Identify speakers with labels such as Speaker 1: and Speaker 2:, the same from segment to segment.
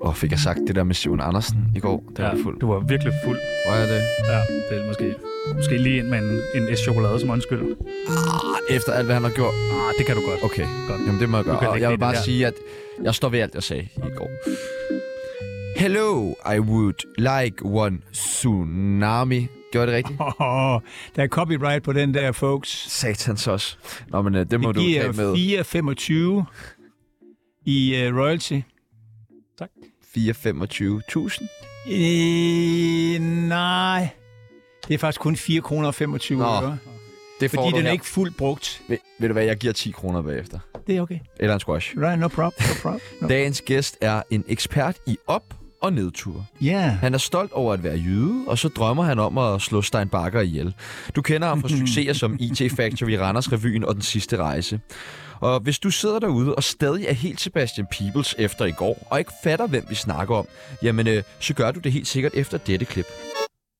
Speaker 1: Og fik jeg sagt det der med Simon Andersen i går, der ja. var jeg fuld.
Speaker 2: Du var virkelig fuld.
Speaker 1: Hvor er det?
Speaker 2: Ja, det er måske, måske lige ind med en, en S chokolade som undskyld.
Speaker 1: Efter alt, hvad han har gjort.
Speaker 2: Ah, det kan du godt.
Speaker 1: Okay,
Speaker 2: Godt.
Speaker 1: Jamen, det må jeg
Speaker 2: Du
Speaker 1: gøre.
Speaker 2: kan
Speaker 1: Og
Speaker 2: lægge
Speaker 1: jeg
Speaker 2: det
Speaker 1: vil
Speaker 2: i
Speaker 1: bare
Speaker 2: det her.
Speaker 1: sige, at jeg står ved alt, jeg sagde i går. Hello, I would like one tsunami. Gjorde jeg det rigtigt?
Speaker 3: Oh, der er copyright på den der, folks.
Speaker 1: Satans også. Nå, men øh, det må
Speaker 3: Det
Speaker 1: du tage med.
Speaker 3: giver 4,25 i uh, royalty.
Speaker 1: 425.000.
Speaker 3: Øh, nej, det er faktisk kun 4,25 kroner.
Speaker 1: Nå,
Speaker 3: øre,
Speaker 1: Det får
Speaker 3: Fordi
Speaker 1: du
Speaker 3: den er
Speaker 1: her.
Speaker 3: ikke fuldt brugt.
Speaker 1: Ved, ved du hvad, jeg giver 10 kroner bagefter.
Speaker 3: Det er okay.
Speaker 1: Eller en squash.
Speaker 3: Right, no problem. No problem. No.
Speaker 1: Dagens gæst er en ekspert i op- og nedture.
Speaker 3: Yeah.
Speaker 1: Han er stolt over at være jyde, og så drømmer han om at slå Stein Bakker ihjel. Du kender ham fra succeser som IT Factory, Randers Revyen og Den Sidste Rejse. Og hvis du sidder derude og stadig er helt Sebastian Peebles efter i går, og ikke fatter, hvem vi snakker om, jamen øh, så gør du det helt sikkert efter dette klip.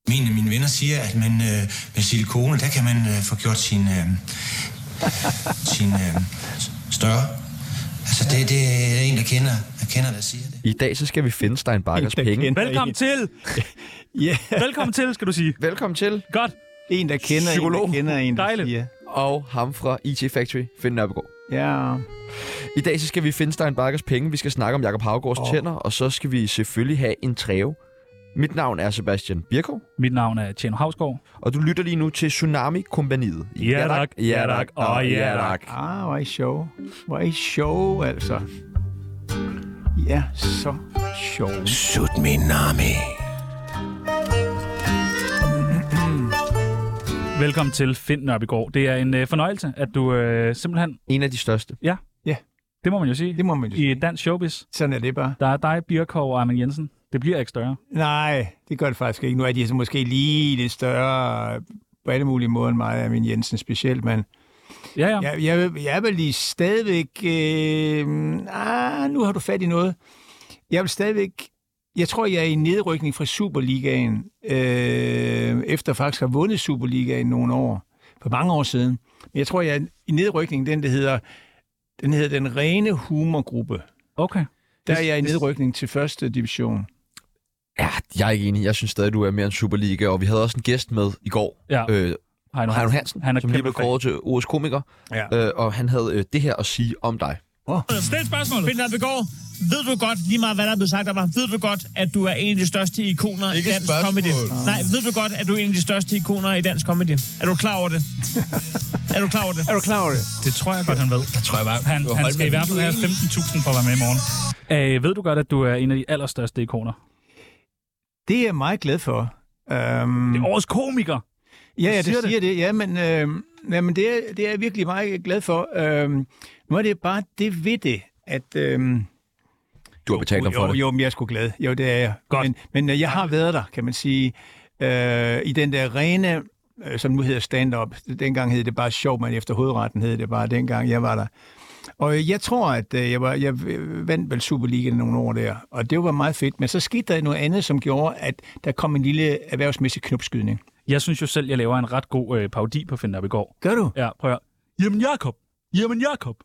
Speaker 4: Mine, mine venner siger, at man, øh, med silikone, der kan man øh, få gjort sin, øh, sin øh, s- større. Altså, det, det er en, der kender, der kender, der siger det.
Speaker 1: I dag så skal vi finde Stein Bakkers
Speaker 3: En, der
Speaker 1: penge.
Speaker 3: kender
Speaker 2: Velkommen til!
Speaker 3: Ja,
Speaker 2: Velkommen til, skal du sige.
Speaker 1: Velkommen til,
Speaker 2: Godt.
Speaker 3: en, der kender
Speaker 1: Psykolog.
Speaker 3: en, der kender en, der
Speaker 2: Dejligt.
Speaker 3: siger.
Speaker 1: og ham fra IT Factory, Finn Nørbegaard.
Speaker 3: Ja.
Speaker 1: I dag så skal vi finde Stein Bakkers penge, vi skal snakke om Jakob Havgårds oh. tænder, og så skal vi selvfølgelig have en træve. Mit navn er Sebastian Birkov,
Speaker 2: Mit navn er Tjeno Havsgaard.
Speaker 1: og du lytter lige nu til Tsunami-kompaniet.
Speaker 2: Ja, tak.
Speaker 1: ja tak, og ja tak.
Speaker 3: Ah, hvor er I sjov. Hvor er I sjov, altså. Ja, så sjov.
Speaker 4: Sut min nami.
Speaker 2: Velkommen til Finn Nørbygård. Det er en øh, fornøjelse, at du øh, simpelthen,
Speaker 1: En af de største.
Speaker 2: det må man jo sige,
Speaker 3: Det må man jo
Speaker 2: i
Speaker 3: sige.
Speaker 2: et dansk showbiz,
Speaker 3: Sådan er det bare.
Speaker 2: der er dig, Birkov og Armin Jensen. Det bliver ikke større.
Speaker 3: Nej, det gør det faktisk ikke. Nu er de så måske lige lidt større på alle mulige måder end mig, min Jensen specielt, men
Speaker 2: Ja, ja.
Speaker 3: jeg, jeg, vil- jeg vil lige stadigvæk... Øh, ah, nu har du fat i noget. Jeg vil stadigvæk... Jeg tror, jeg er i nedrykning fra Superligaen, øh, efter faktisk har vundet Superligaen nogle år, for mange år siden. Men jeg tror, jeg er i nedrykning, den der hedder den, hedder den rene humorgruppe.
Speaker 2: Okay.
Speaker 3: Der er jeg i nedrykning til første division.
Speaker 1: Ja, jeg er ikke enig. Jeg synes stadig, du er mere en Superliga, og vi havde også en gæst med i går.
Speaker 2: Ja.
Speaker 1: Øh,
Speaker 2: Heino
Speaker 1: Heino Hansen,
Speaker 2: Han er
Speaker 1: som lige
Speaker 2: kæmpe
Speaker 1: blev
Speaker 2: fan.
Speaker 1: kåret til OS Komiker,
Speaker 3: Ja.
Speaker 1: øh, og han havde øh, det her at sige om dig.
Speaker 5: Stil spørgsmålet. Peter Begaard, ved du godt, lige meget hvad der er blevet sagt af mig, ved du godt, at du er en af de største ikoner
Speaker 4: Ikke
Speaker 5: i dansk
Speaker 4: spørgsmål.
Speaker 5: comedy? Nej, ved du godt, at du er en af de største ikoner i dansk comedy? Er du klar over det? er du klar over det?
Speaker 3: Er du klar over det?
Speaker 2: Det tror jeg godt, han ved.
Speaker 4: Tror jeg bare,
Speaker 2: Han, han skal i hvert fald have 15.000 for at være med i morgen. Æh, ved du godt, at du er en af de allerstørste ikoner?
Speaker 3: Det er jeg meget glad for. Øhm,
Speaker 2: Det er årets komiker.
Speaker 3: Ja, ja, det
Speaker 2: siger
Speaker 3: siger
Speaker 2: det.
Speaker 3: det. Siger det. Ja, men, øh, ja, men det, er, det er jeg virkelig meget glad for. Øh, nu er det bare det ved det, at... Øh,
Speaker 1: Du har betalt ham for
Speaker 3: jo,
Speaker 1: det.
Speaker 3: jo, men jeg er sgu glad. Jo, det er jeg.
Speaker 2: Godt.
Speaker 3: Men, men øh, jeg har været der, kan man sige, øh, i den der rene, øh, som nu hedder stand-up. Dengang hed det bare sjov, men efter hovedretten hed det bare dengang, jeg var der. Og øh, jeg tror, at øh, jeg, var, jeg øh, vandt vel Superligaen nogle år der, og det var meget fedt. Men så skete der noget andet, som gjorde, at der kom en lille erhvervsmæssig knopskydning.
Speaker 2: Jeg synes jo selv, jeg laver en ret god øh, parodi på Finn Nørbygård.
Speaker 3: Gør du?
Speaker 2: Ja, prøv at høre. Jamen Jakob! Jamen Jakob!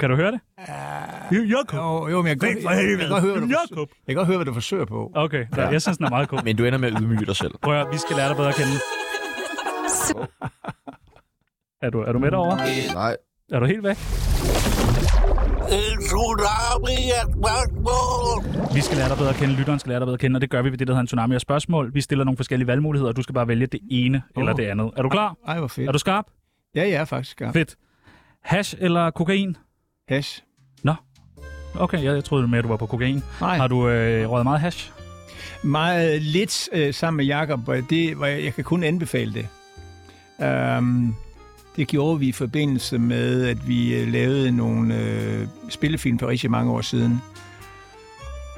Speaker 2: Kan du høre det? Jamen Jakob!
Speaker 3: Jo, jo, men jeg kan, godt, jeg, jeg, kan godt høre, hvad du,
Speaker 2: Jakob!
Speaker 3: jeg kan godt høre, hvad du forsøger på.
Speaker 2: Okay, ja. jeg synes, den er meget god.
Speaker 1: Men du ender med at ydmyge dig selv.
Speaker 2: Prøv at, høre, vi skal lære dig bedre at kende. Er du, er du med derovre?
Speaker 1: Nej.
Speaker 2: Er du helt væk? Vi skal lære dig bedre at kende, lytteren skal lære dig bedre at kende, og det gør vi ved det, der hedder en tsunami af spørgsmål. Vi stiller nogle forskellige valgmuligheder, og du skal bare vælge det ene oh. eller det andet. Er du klar?
Speaker 3: Ej, hvor fedt.
Speaker 2: Er du skarp?
Speaker 3: Ja, jeg er faktisk skarp.
Speaker 2: Fedt. Hash eller kokain?
Speaker 3: Hash.
Speaker 2: Okay, jeg, jeg troede mere, du var på kokain.
Speaker 3: Nej,
Speaker 2: Har du øh, røget meget hash?
Speaker 3: meget lidt øh, sammen med Jacob, og det, var, jeg kan kun anbefale det. Um, det gjorde vi i forbindelse med, at vi øh, lavede nogle øh, spillefilm for rigtig mange år siden.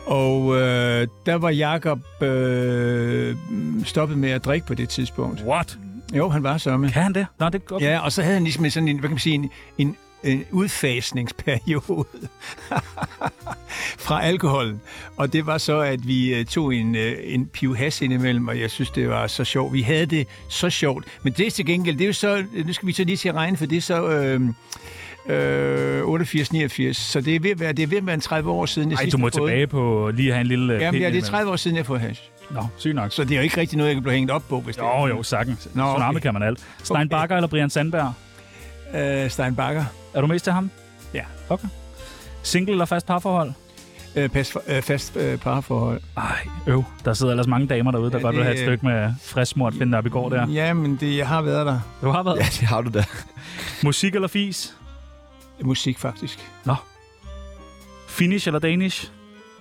Speaker 3: Og øh, der var Jacob øh, stoppet med at drikke på det tidspunkt.
Speaker 2: What?
Speaker 3: Jo, han var så med.
Speaker 2: Kan han det? Nå, det er godt.
Speaker 3: Ja, og så havde han ligesom sådan en, hvad kan man sige, en, en, en udfasningsperiode fra alkoholen. Og det var så, at vi øh, tog en, øh, en pivhas indimellem, og jeg synes, det var så sjovt. Vi havde det så sjovt. Men det til gengæld, det er jo så, nu skal vi så lige til at regne, for det er så... Øh, øh, 88, 89, så det er ved at være, det er ved at være en 30 år siden, jeg
Speaker 2: Ej,
Speaker 3: sidst
Speaker 2: du må
Speaker 3: har fået-
Speaker 2: tilbage på lige at have en lille øh,
Speaker 3: Jamen,
Speaker 2: pind
Speaker 3: ja, det er
Speaker 2: imellem.
Speaker 3: 30 år siden, jeg har fået hash.
Speaker 2: Nå, syg nok.
Speaker 3: Så det er jo ikke rigtig noget, jeg kan blive hængt op på, hvis det
Speaker 2: Jo, jo, sagtens. Nå,
Speaker 3: Nå,
Speaker 2: okay.
Speaker 3: okay.
Speaker 2: Tsunami kan man alt. Stein
Speaker 3: Okay.
Speaker 2: Bakker eller Brian Sandberg?
Speaker 3: er. Øh, Stein Bakker.
Speaker 2: Er du mest til ham?
Speaker 3: Ja.
Speaker 2: Okay. Single eller fast parforhold?
Speaker 3: Øh, pas for, øh, fast øh, parforhold.
Speaker 2: Ej, øv. Der sidder ellers mange damer derude, der ja,
Speaker 3: Ja,
Speaker 2: godt vil
Speaker 3: det-
Speaker 2: have et stykke med frismurt finde op i går der.
Speaker 3: Ja, men det, jeg har været der.
Speaker 2: Du har været.
Speaker 1: Ja,
Speaker 2: Ja.
Speaker 1: det har du da.
Speaker 2: Musik eller fis?
Speaker 3: Musik, faktisk.
Speaker 2: Finnish eller Danish?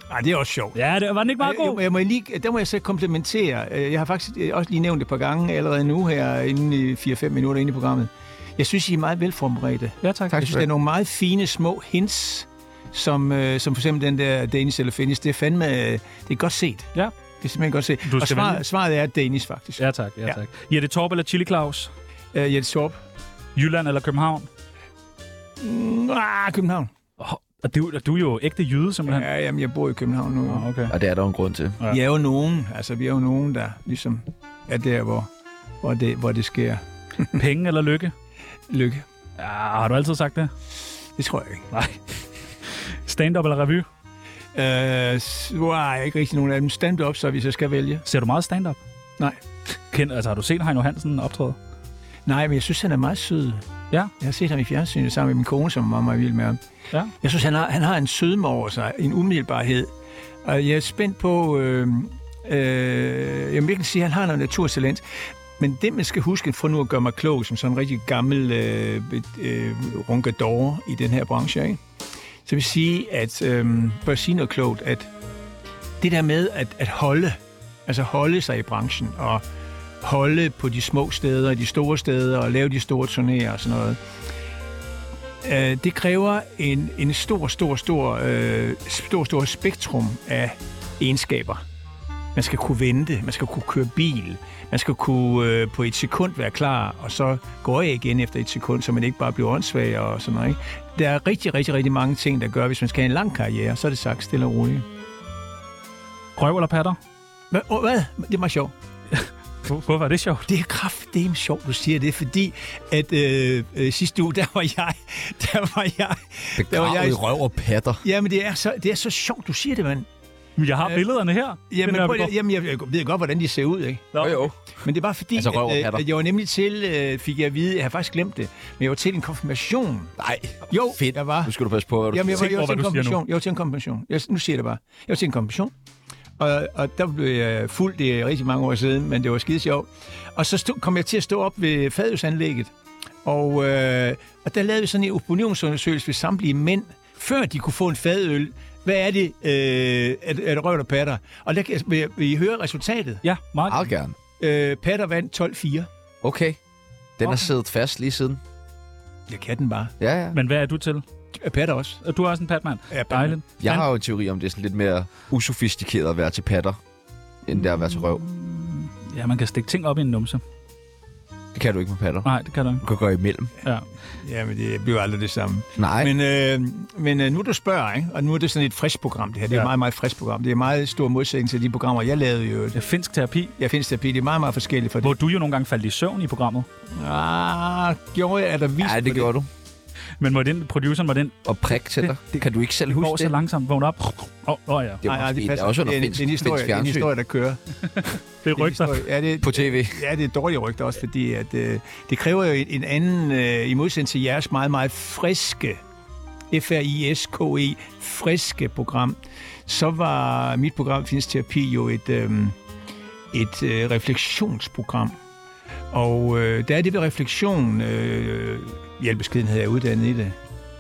Speaker 3: Nej, det er også sjovt. Øh,
Speaker 2: Ja, det, var den ikke meget
Speaker 3: Jeg,
Speaker 2: god?
Speaker 3: jeg, må lige, der må jeg så komplementere. Øh, Jeg har faktisk øh, også lige nævnt det et par gange allerede nu her, inden i 4-5 minutter inde i programmet. Jeg synes, I er meget velforberedte.
Speaker 2: Ja, tak.
Speaker 3: Jeg synes, der er nogle meget fine små hints, som, øh, som for eksempel den der Danish eller Finnish. Det er fandme, øh, det er godt set.
Speaker 2: Ja.
Speaker 3: Det er simpelthen godt set.
Speaker 2: Du
Speaker 3: Og
Speaker 2: skal vælge.
Speaker 3: svaret, svaret er Danish, faktisk. Ja.
Speaker 2: Ja, tak. Ja,
Speaker 3: Ja.
Speaker 2: tak. Jette Torp eller Chili Claus?
Speaker 3: Øh, Jens Torp.
Speaker 2: Jylland eller København?
Speaker 3: Mm, ah, København.
Speaker 2: Oh, og du, du er jo ægte jyde, simpelthen.
Speaker 3: Ja, Ah, jamen, jeg bor i København nu.
Speaker 2: Nå, okay.
Speaker 1: Og det er der jo en grund til.
Speaker 2: Ja.
Speaker 3: Vi er jo nogen, altså vi er jo nogen, der ligesom er der, hvor, hvor, det, hvor det sker.
Speaker 2: Penge eller lykke?
Speaker 3: Lykke.
Speaker 2: Ja, har du altid sagt det?
Speaker 3: Det tror jeg ikke.
Speaker 2: Nej. Stand-up eller revy?
Speaker 3: Øh, s- wow, jeg er ikke rigtig nogen af dem. Stand up, så hvis jeg skal vælge.
Speaker 2: Ser du meget stand-up?
Speaker 3: Nej.
Speaker 2: Kend, altså, har du set Heino Hansen optræde?
Speaker 3: Nej, men jeg synes, han er meget sød.
Speaker 2: Ja.
Speaker 3: Jeg har set ham i fjernsynet sammen med min kone, som er meget, meget vild med ham.
Speaker 2: Ja.
Speaker 3: Jeg synes, han har, han har en sødme over sig, en umiddelbarhed. Og jeg er spændt på, øh, øh, jeg vil ikke sige, at han har noget naturtalent, men det, man skal huske for nu at gøre mig klog, som sådan en rigtig gammel øh, øh, runkador i den her branche, ikke? så vil sige, at øh, bør sige noget klogt, at det der med at, at holde, altså holde sig i branchen, og holde på de små steder og de store steder og lave de store turnéer og sådan noget. Øh, Det kræver en, en stor, stor, stor, øh, stor, stor spektrum af egenskaber. Man skal kunne vente, man skal kunne køre bil, man skal kunne øh, på et sekund være klar, og så går jeg igen efter et sekund, så man ikke bare bliver åndssvag og sådan noget. Ikke? Der er rigtig, rigtig, rigtig mange ting, der gør, hvis man skal have en lang karriere, så er det sagt stille og roligt.
Speaker 2: Røv eller patter?
Speaker 3: Hvad? åh, Hvad? Det er meget sjovt.
Speaker 2: Hvor- Hvorfor er det sjovt?
Speaker 3: Det er kraftedeme sjovt, du siger det, fordi at øh, øh, sidste uge, der var jeg... Der var jeg... Der var
Speaker 1: Begravet
Speaker 3: jeg
Speaker 1: i røv og patter.
Speaker 3: Jamen, det er, så, det er så sjovt, du siger det, mand.
Speaker 2: Men Jeg har
Speaker 3: Øh,
Speaker 2: billederne her. øh,
Speaker 3: Jamen,
Speaker 2: Finder
Speaker 3: prøv,
Speaker 2: jeg-
Speaker 3: lige- jamen jeg, jeg ved godt, hvordan de ser ud, ikke?
Speaker 2: Nå.
Speaker 1: Jo, jo.
Speaker 3: Men det var fordi,
Speaker 1: Altså, røv og
Speaker 3: at, øh,
Speaker 1: patter.
Speaker 3: at jeg var nemlig til... Øh, fik jeg at vide, jeg har faktisk glemt det, men jeg var til en konfirmation.
Speaker 1: Nej,
Speaker 3: Jo,
Speaker 1: fedt.
Speaker 3: jeg var.
Speaker 1: Nu skal du passe på, hvad du
Speaker 3: Jamen, jeg var,
Speaker 2: Tænk
Speaker 3: jeg var
Speaker 2: over,
Speaker 3: til en
Speaker 2: hvad du siger nu.
Speaker 3: konfirmation. Jeg var til en konfirmation. Jeg, nu siger jeg det bare. Jeg var til en konfirmation. Og, og der blev jeg fuld, det er rigtig mange år siden, men det var skide sjovt. Og så stod, kom jeg til at stå op ved fadelsanlægget. Og, øh, og der lavede vi sådan en opinionsundersøgelse ved samtlige mænd, før de kunne få en fadøl. Hvad er det, øh, at, at røv og patter? Og der kan, vil, jeg- vil I høre resultatet?
Speaker 2: Ja, meget.
Speaker 1: Meget gerne.
Speaker 3: Øh, patter vandt 12-4.
Speaker 1: Okay. Den har
Speaker 2: Okay.
Speaker 1: siddet fast lige siden.
Speaker 3: Jeg kan den bare.
Speaker 1: Ja, ja.
Speaker 2: Men hvad er du til?
Speaker 3: Patter også.
Speaker 2: Du er også en patmand.
Speaker 3: Ja, patter.
Speaker 2: Dejligt.
Speaker 1: Jeg har jo en teori om, det er sådan lidt mere usofistikeret at være til patter, end det er at være til røv.
Speaker 2: Ja, man kan stikke ting op i en numse.
Speaker 1: Det kan du ikke med patter.
Speaker 2: Nej, det kan du ikke.
Speaker 1: Du kan gøre imellem.
Speaker 2: Ja.
Speaker 3: Jamen, det bliver aldrig det samme.
Speaker 1: Nej, Men,
Speaker 3: Men, øh, men øh, nu du spørger, ikke? og nu er det sådan et frisk program, det her. Det er
Speaker 2: Ja.
Speaker 3: et meget, meget frisk program. Det er meget stor modsætning til de programmer, jeg lavede i øvrigt.
Speaker 2: Ja, Finsk terapi,
Speaker 3: Jeg findes terapi, det er meget, meget forskelligt fra det.
Speaker 2: hvor du jo nogle gange faldt i søvn i programmet.
Speaker 3: Ah, gjorde jeg, er der vist
Speaker 1: nej, det
Speaker 3: på
Speaker 1: gjorde du.
Speaker 2: Men må den, produceren var den,
Speaker 1: Og prik til dig. Det, kan du ikke selv
Speaker 2: det går
Speaker 1: huske
Speaker 2: så
Speaker 1: det?
Speaker 2: langsomt, vågn op. Åh, oh, oh, ja,
Speaker 1: Det,
Speaker 3: Nej, nej, det
Speaker 1: det
Speaker 3: passer.
Speaker 1: er også under
Speaker 3: det, er en,
Speaker 1: finsk,
Speaker 3: det, er en historie,
Speaker 1: finsk
Speaker 3: det er en
Speaker 1: fjernsyn.
Speaker 3: historie, der kører.
Speaker 2: det
Speaker 3: Det er en
Speaker 2: rygter.
Speaker 3: historie. Ja, det,
Speaker 1: På tv.
Speaker 3: ja, det er dårlige rygter også, fordi at, øh, det kræver jo en, en anden, øh, i modsætning til jeres meget, meget friske, F-R-I-S-K-E, E, friske program, så var mit program Finsk Terapi jo et, øh, et øh, refleksionsprogram. Og øh, der er det ved refleksion, øh, hjælpeskeden havde jeg uddannet i det,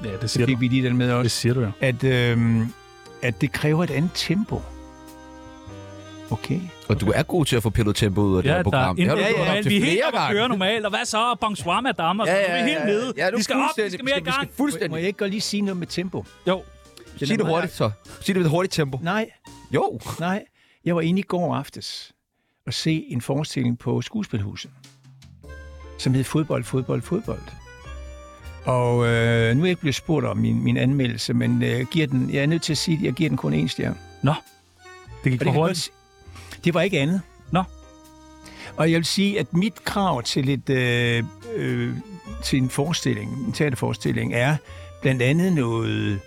Speaker 2: Ja, det
Speaker 3: så
Speaker 2: siger du.
Speaker 3: fik vi lige den med
Speaker 2: Det
Speaker 3: også,
Speaker 2: siger du jo.
Speaker 3: at, øh, at det kræver et andet tempo. Okay.
Speaker 1: Og du er god til at få pillet tempoet ud af det
Speaker 2: Ja,
Speaker 1: her
Speaker 2: der er
Speaker 1: program. Det har du gjort op til
Speaker 2: vi er helt
Speaker 1: flere
Speaker 2: oppe at
Speaker 1: gange.
Speaker 2: køre normalt, og hvad så? Bonsoir, madame, og så er vi helt nede.
Speaker 1: Ja, du
Speaker 2: vi skal op, vi skal mere i
Speaker 1: Vi
Speaker 2: gang.
Speaker 1: skal
Speaker 3: Må
Speaker 1: fuldstændig.
Speaker 3: jeg ikke godt lige sige noget med tempo?
Speaker 2: Jo,
Speaker 1: Sig det hurtigt, så. Sig det med et hurtigt tempo.
Speaker 3: Nej,
Speaker 1: Jo.
Speaker 3: Nej, jeg var inde i går aftes og se en forestilling på Skuespilhuset, som hed Fodbold, Fodbold, Fodbold. Og øh, nu er jeg ikke blevet spurgt om min, min anmeldelse, men øh, jeg, giver den, jeg er nødt til at sige, at jeg giver den kun en stjerne. Og
Speaker 2: det gik
Speaker 3: det
Speaker 2: for
Speaker 3: kan jeg
Speaker 2: hurtigt.
Speaker 3: godt sige- Det var ikke andet.
Speaker 2: Nå.
Speaker 3: Og jeg vil sige, at mit krav til et øh, øh, til en forestilling, en teaterforestilling, er blandt andet noget...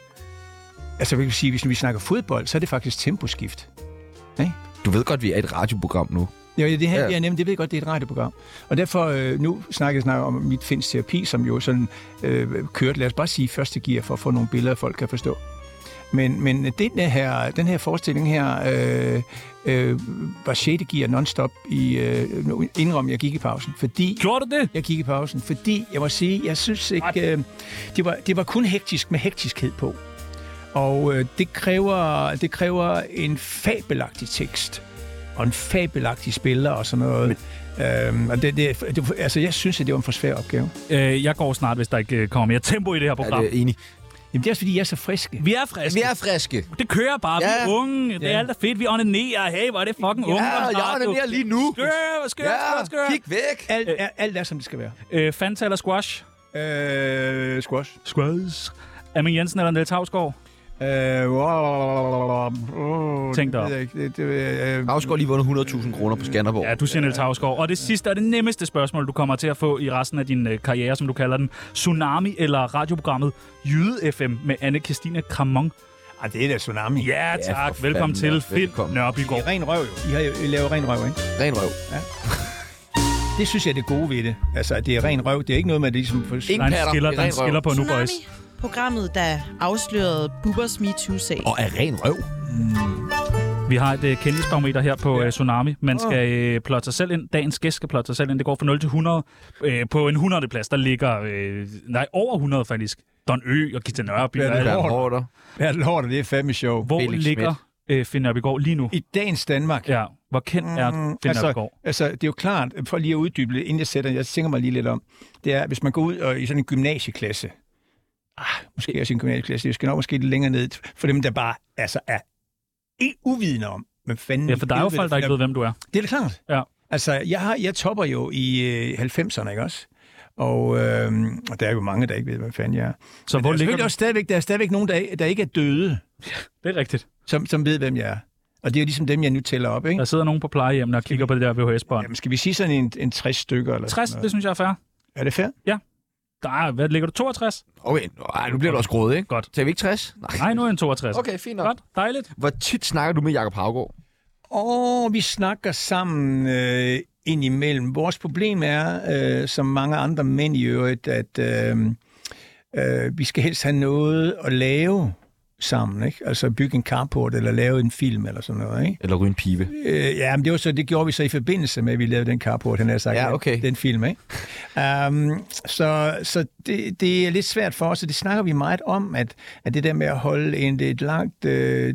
Speaker 3: Altså, vil sige, hvis vi snakker fodbold, så er det faktisk temposkift.
Speaker 1: Du ved godt, vi er et radioprogram nu.
Speaker 3: Jo, ja, det her,
Speaker 1: Ja.
Speaker 3: ja. ja nemlig, det ved jeg godt, det er et radioprogram. Og derfor, øh, nu snakker jeg snart om mit finsk terapi, som jo sådan øh, kørte, lad os bare sige, første gear, for at få nogle billeder, folk kan forstå. Men, men den, her, den her forestilling her øh, øh, var 6. gear non-stop i, øh, nu indrømmer jeg, jeg gik i pausen, fordi...
Speaker 2: Gjorde du det?
Speaker 3: Jeg gik i pausen, fordi jeg må sige, jeg synes ikke... Øh, det, var, det var kun hektisk med hektiskhed på. Og øh, det, kræver, det kræver en fabelagtig tekst og en fabelagtig spiller og sådan noget. Øhm, og det, det, det, altså, jeg synes, at det var en for svær opgave.
Speaker 2: Øh, jeg går snart, hvis der ikke øh, kommer mere tempo i det her
Speaker 1: Er
Speaker 2: program.
Speaker 1: det enig?
Speaker 3: Jamen, det er også, fordi jeg er så friske.
Speaker 2: Vi er friske.
Speaker 1: Vi er friske.
Speaker 2: Det kører bare. Ja. Vi
Speaker 1: Ja.
Speaker 2: er unge. Det er alt er fedt. Vi onanerer. Hey, hvor er det fucking unge.
Speaker 1: onanerer lige nu.
Speaker 2: Skør, skør, skør, skør.
Speaker 1: kig væk.
Speaker 3: Alt, er, alt er, som det skal være.
Speaker 2: Øh, Fanta eller squash?
Speaker 3: Øh, squash.
Speaker 2: Squash. Amin Jensen eller Niels Havsgaard?
Speaker 3: Øh, wow, oh,
Speaker 2: Tænk dig
Speaker 3: det ved jeg ikke. Det, det, øh,
Speaker 1: Havsgaard lige vundet 100.000 kroner på Skanderborg.
Speaker 2: Ja, du siger Niels Havsgaard. Og det sidste og det nemmeste spørgsmål, du kommer til at få i resten af din øh, karriere, som du kalder den. Tsunami eller radioprogrammet Jyde FM med anne Christine Kramon?
Speaker 3: ah, det er da tsunami.
Speaker 2: Ja,
Speaker 1: Ja,
Speaker 2: tak.
Speaker 1: for
Speaker 2: Velkommen
Speaker 1: fanden,
Speaker 2: til
Speaker 1: ja.
Speaker 2: Finn
Speaker 1: Velkommen.
Speaker 3: I
Speaker 2: Nørbygård.
Speaker 3: ren røv jo. I har jo I laver ren røv, ikke?
Speaker 1: Ren røv.
Speaker 3: Det synes jeg er det gode ved det. Altså, at det er ren røv. Det er ikke noget med, at det ligesom... For...
Speaker 1: Ingen
Speaker 2: Der er en
Speaker 1: patter.
Speaker 2: skiller,
Speaker 1: Det
Speaker 2: der
Speaker 1: er
Speaker 2: er en
Speaker 1: ren røv.
Speaker 2: skiller på nu, boys.
Speaker 6: Tsunami-programmet, der afslørede Bubbers MeToo-sag.
Speaker 1: Og er ren røv.
Speaker 2: Vi har et øh, kendisbarometer her på øh, Tsunami. Man skal øh, plotte sig selv ind. Dagens gæst skal plotte sig selv ind. Det går fra 0 til 100. Øh, på en 100. plads, der ligger... Øh, nej, over 100 faktisk. Don Ø og Gita Nørby.
Speaker 3: Ja, det
Speaker 2: og
Speaker 3: er
Speaker 2: alle.
Speaker 1: Bernd Hårder.
Speaker 3: Ja, lort, det er fandme sjov.
Speaker 2: Hvor
Speaker 1: Felix
Speaker 2: ligger øh, Finn Nørbygård lige nu?
Speaker 3: I dagens Danmark.
Speaker 2: Ja, hvor kendt er
Speaker 3: Mm,
Speaker 2: Finn
Speaker 3: altså,
Speaker 2: Nørbygård?
Speaker 3: altså, det er jo klart, for lige at uddybe det, inden jeg sætter, jeg tænker mig lige lidt om, det er, hvis man går ud og, i sådan en gymnasieklasse, ah, måske også en gymnasieklasse, jeg skal nok måske lidt længere ned, for dem, der bare altså, er ikke uvidende om, men fanden...
Speaker 2: Ja, for der er jo folk, der ikke ved, hvem du er.
Speaker 3: Det er da klart.
Speaker 2: Ja.
Speaker 3: Altså, jeg, har, jeg topper jo i øh, 90'erne, ikke også? Og, øh, og der er jo mange, der ikke ved, hvad fanden jeg er.
Speaker 2: Så
Speaker 3: Men
Speaker 2: hvor
Speaker 3: der
Speaker 2: ligger
Speaker 3: er selvfølgelig
Speaker 2: du?
Speaker 3: også stadigvæk, der er stadigvæk nogen, der, der ikke er døde,
Speaker 2: Det er rigtigt.
Speaker 3: som, som ved, hvem jeg er. Og det er jo ligesom dem, jeg nu tæller op, ikke?
Speaker 2: Der sidder nogen på plejehjemmet og kigger på det der VHS-bånd.
Speaker 3: Jamen, skal vi sige sådan en, en 60 stykker? Eller
Speaker 2: 60,
Speaker 3: Sådan
Speaker 2: det
Speaker 3: noget?
Speaker 2: synes jeg er fair.
Speaker 3: Er det fair?
Speaker 2: Der er, hvad ligger du? 62?
Speaker 1: Okay, nej, nu bliver du også grådet, ikke?
Speaker 2: Godt.
Speaker 1: Tager vi ikke 60?
Speaker 2: Nej, nu er en 62.
Speaker 1: Okay, fint nok.
Speaker 2: Godt, dejligt.
Speaker 1: Hvor tit snakker du med Jakob Havgård?
Speaker 3: Og vi snakker sammen øh, indimellem. Vores problem er, øh, som mange andre mænd i øvrigt, at øh, øh, vi skal helst have noget at lave sammen, ikke? Altså bygge en carport eller lave en film eller sådan noget, ikke?
Speaker 1: Eller ryge en pive?
Speaker 3: Øh, ja, men det, var så, det gjorde vi så i forbindelse med, at vi lavede den carport, han har sagt,
Speaker 1: Ja, okay.
Speaker 3: den film, ikke? Um, så så det, det er lidt svært for os, og det snakker vi meget om, at, at det der med at holde en, det er et langt, øh,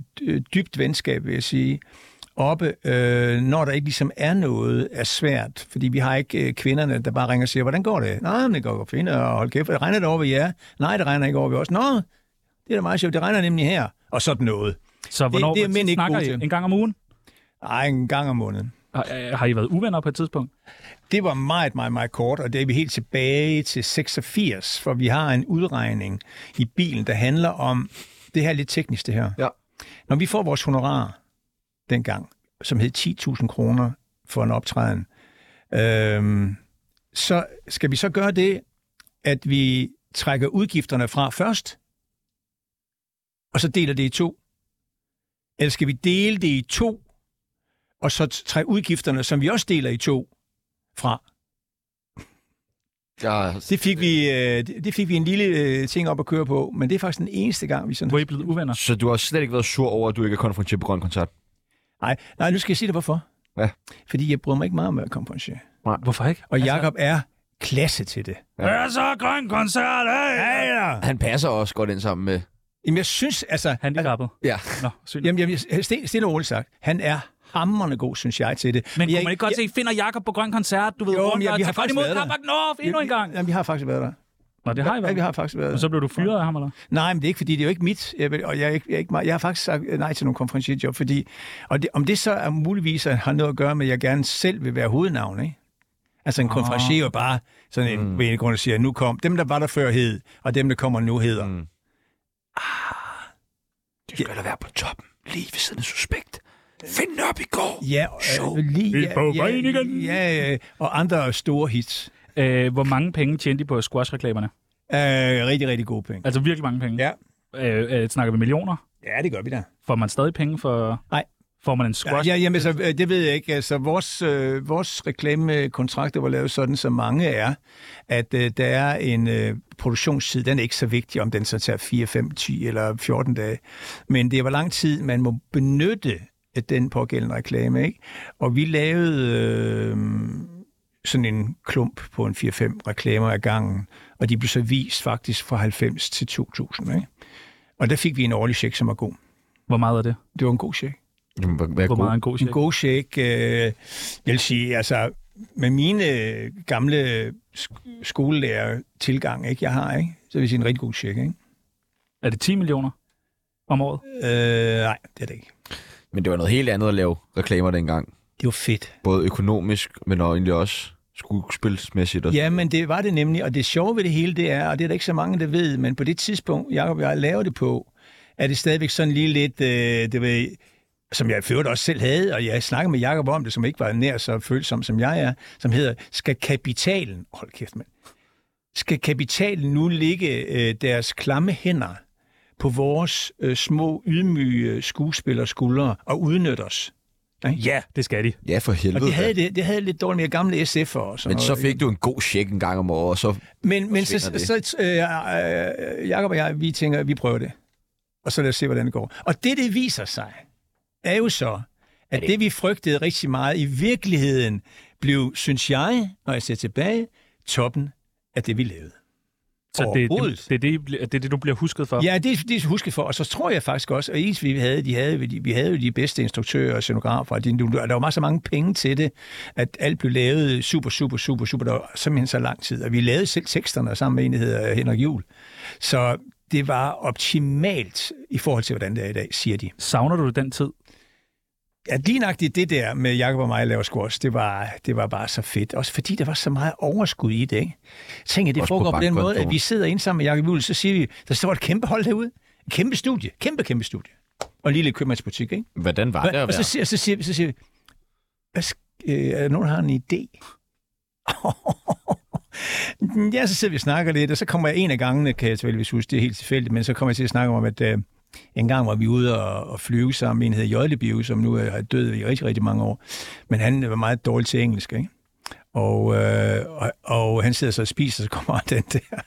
Speaker 3: dybt venskab, vil jeg sige, oppe, øh, når der ikke ligesom er noget, er svært. Fordi vi har ikke øh, kvinderne, der bare ringer og siger, hvordan går det? Nej, men det går godt fint, og hold kæft, regner det over ved jer? Nej, det regner ikke over ved os. Nå, det er da meget sjovt, det regner nemlig her. Og sådan noget.
Speaker 2: Så hvornår
Speaker 3: det er mænd ikke
Speaker 2: snakker
Speaker 3: gode
Speaker 2: I?
Speaker 3: til.
Speaker 2: En gang om ugen?
Speaker 3: Ej, en gang om måneden.
Speaker 2: Har, øh, har I været uvenner på et tidspunkt?
Speaker 3: Det var meget, meget, meget kort, og det er vi helt tilbage til 86, for vi har en udregning i bilen, der handler om, det her er lidt teknisk det her.
Speaker 1: Ja.
Speaker 3: Når vi får vores honorar dengang, som hed 10.000 kroner for en optræden, øhm, så skal vi så gøre det, at vi trækker udgifterne fra først, og så deler det i to. Eller skal vi dele det i to, og så trække udgifterne, som vi også deler i to, fra.
Speaker 1: Jeg
Speaker 3: Det fik vi, øh, det det fik vi en lille øh, ting op at køre på, men det er faktisk den eneste gang, vi sådan...
Speaker 2: Hvor I er blevet uvenner?
Speaker 1: Så du har slet ikke været sur over, at du ikke er konfronteret på Grøn Koncert?
Speaker 3: Nej, nej, nu skal jeg sige dig hvorfor.
Speaker 1: Ja.
Speaker 3: Fordi jeg bryder mig ikke meget om at komme på en chef.
Speaker 2: Hvorfor ikke?
Speaker 3: Og Jakob er klasse til det.
Speaker 1: Ja.
Speaker 2: Hør så, grøn koncert! Hey!
Speaker 3: ja.
Speaker 1: Han passer også godt ind sammen med...
Speaker 3: Jamen, jeg synes, altså...
Speaker 2: Handicappet.
Speaker 1: Ja.
Speaker 2: Nå, sygt.
Speaker 3: Jamen, jamen jeg- stille, stille og roligt sagt, han er hammerende god, synes jeg, til det.
Speaker 2: Men
Speaker 3: jeg,
Speaker 2: kunne man ikke godt se, finder Jakob på grøn koncert, du ved,
Speaker 3: Jo,
Speaker 2: rundt
Speaker 3: men ja,
Speaker 2: og
Speaker 3: vi har
Speaker 2: tager godt
Speaker 3: faktisk
Speaker 2: imod
Speaker 3: været der.
Speaker 2: Kabak North endnu en gang.
Speaker 3: Jamen, vi har faktisk været der.
Speaker 2: Nå, det har I
Speaker 3: Ja, vi
Speaker 2: været.
Speaker 3: har faktisk været der.
Speaker 2: Og så blev du fyret af ham, eller?
Speaker 3: Nej, men det er ikke, fordi det er jo ikke mit, jeg vil, og jeg, er ikke, jeg, er ikke meget, jeg har faktisk sagt nej til nogle konferencierjob, fordi, og det, om det så er muligvis at har noget at gøre med, at jeg gerne selv vil være hovednavn, ikke? Altså en konferencier er jo bare sådan en, mm. en grund, der siger, nu kom, dem der var der før hed, og dem der kommer nu hedder. Mm.
Speaker 1: Du skal da være på toppen, lige ved siden af suspekt. Find op i går!
Speaker 3: Ja, øh, lige,
Speaker 2: Vi er på vejen igen.
Speaker 3: ja, ja, og andre store hits.
Speaker 2: Øh, hvor mange penge tjente de på squash-reklamerne?
Speaker 3: Øh, rigtig, rigtig gode penge.
Speaker 2: Altså virkelig mange penge.
Speaker 3: Ja.
Speaker 2: Øh, øh, snakker vi millioner?
Speaker 3: Ja, det gør vi da.
Speaker 2: Får man stadig penge for...
Speaker 3: Nej.
Speaker 2: Får man en
Speaker 3: Ja,
Speaker 2: squash?
Speaker 3: ja, jamen, så, øh, det ved jeg ikke. Altså, vores, øh, vores reklamekontrakter var lavet sådan, som mange er, at øh, der er en øh, produktionstid, den er ikke så vigtig, om den så tager 4, 5, 10 eller 14 dage. Men det er, hvor lang tid man må benytte af den pågældende reklame. Ikke? Og vi lavede øh, sådan en klump på en 4-5 reklamer ad gangen, og de blev så vist faktisk fra 90 til 2000. Ikke? Og der fik vi en årlig check, som var god.
Speaker 2: Hvor meget er det?
Speaker 3: Det var en god check.
Speaker 1: Jamen, hvad, hvad er
Speaker 2: Hvor
Speaker 1: god?
Speaker 2: meget er en god
Speaker 3: En
Speaker 2: check?
Speaker 3: god check. Øh, jeg vil sige, altså, med mine øh, gamle sk- skolelærer tilgang, ikke, jeg har, ikke? så vil jeg sige en rigtig god check. Ikke?
Speaker 2: Er det 10 millioner om året?
Speaker 3: Øh, nej, det er det ikke.
Speaker 1: Men det var noget helt andet at lave reklamer dengang.
Speaker 3: Det var fedt.
Speaker 1: Både økonomisk, men og egentlig også skuespilsmæssigt. Og...
Speaker 3: Ja, men det var det nemlig, og det sjove ved det hele, det er, og det er der ikke så mange, der ved, men på det tidspunkt, Jacob og jeg lavede det på, er det stadigvæk sådan lige lidt, øh, det ved, som jeg ført også selv havde, og jeg snakkede med Jacob om det, som ikke var nær så følsom, som jeg er, som hedder, skal kapitalen, hold kæft mand, skal kapitalen nu ligge øh, deres klamme hænder på vores øh, små, ydmyge skuespillers skuldre og udnytte os?
Speaker 2: Ja, det skal de.
Speaker 1: ja for
Speaker 3: Og
Speaker 1: helvede.
Speaker 3: det havde,
Speaker 1: da.
Speaker 3: det, det havde lidt dårligt med gamle SF'er og sådan
Speaker 1: Men
Speaker 3: noget,
Speaker 1: så
Speaker 3: ikke?
Speaker 1: fik du en god check en gang om året, og så
Speaker 3: Men, men så,
Speaker 1: forsvinder
Speaker 3: så så, øh, øh, Jacob og jeg, vi tænker, at vi prøver det. Og så lad os se, hvordan det går. Og det, det viser sig, er jo så, at det, vi frygtede rigtig meget, i virkeligheden blev, synes jeg, når jeg ser tilbage, toppen af det, vi lavede.
Speaker 2: Så det,
Speaker 3: Overhovedet.
Speaker 2: det, det, er det, I bl- det er det, du bliver husket for.
Speaker 3: Ja, det, det husker for. Og så tror jeg faktisk også, at ens vi havde, de havde, de, vi havde jo de bedste instruktører og scenografer. og De, der var meget så mange penge til det, at alt blev lavet super, super, super, super. Der var simpelthen så lang tid. Og vi lavede selv teksterne sammen med en, der hedder Henrik Juhl. Så det var optimalt i forhold til, hvordan det er i dag, siger de.
Speaker 2: Savner du den tid?
Speaker 3: Ja, lige nøjagtigt det der med Jakob og mig laver squash, det var, det var bare så fedt. Også fordi der var så meget overskud i det, ikke? Tænk, at det
Speaker 1: Også på
Speaker 3: foregår på, den måde,
Speaker 1: bankkontoen.
Speaker 3: at vi sidder inde sammen med Jakob Juhl, så siger vi, der står et kæmpe hold derude. Et kæmpe studie. Kæmpe, kæmpe studie. Og en lille købmandsbutik, ikke?
Speaker 1: hvordan var det
Speaker 3: og
Speaker 1: at
Speaker 3: så,
Speaker 1: være?
Speaker 3: siger, så, siger, vi- så siger vi, hvad sk- øh, er der nogen, der har en idé? ja, så sidder vi og snakker lidt, og så kommer jeg en af gangene, kan jeg selvfølgelig huske, det er helt tilfældigt, men så kommer jeg til at snakke om, at øh, en gang var vi ude og, og flyve sammen med en, der hedder Jøjlebio, som nu er død i rigtig, rigtig mange år. Men han var meget dårlig til engelsk, ikke? Og, øh, og, og han sidder så og spiser, og så kommer den der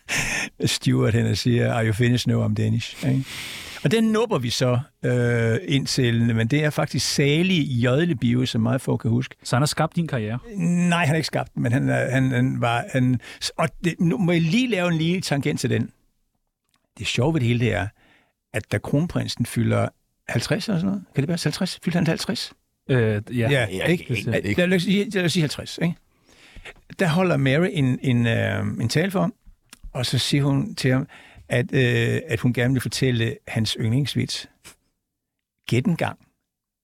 Speaker 3: steward hen og siger, are you finished now, I'm Danish? Ikke? Og den nupper vi så øh, indtil, men det er faktisk salig Jødlebio, som meget få kan huske.
Speaker 2: Så han har skabt din karriere.
Speaker 3: Nej, han har ikke skabt den, men han, er- han, han var... Han, og det, nu må jeg lige lave en lille tangent til den. Det sjove ved det hele det er, at da kronprinsen fylder 50 eller sådan noget, kan det være 50? Fyldte han 50?
Speaker 2: Øh, ja.
Speaker 3: Ja,
Speaker 1: ja,
Speaker 3: ikke?
Speaker 1: det er det ikke.
Speaker 3: Lad os sige- lad os sige 50, ikke? Der holder Mary en, en, øh, en tale for ham, og så siger hun til ham, at, øh, at hun gerne vil fortælle hans yndlingsvits. Gæt en gang,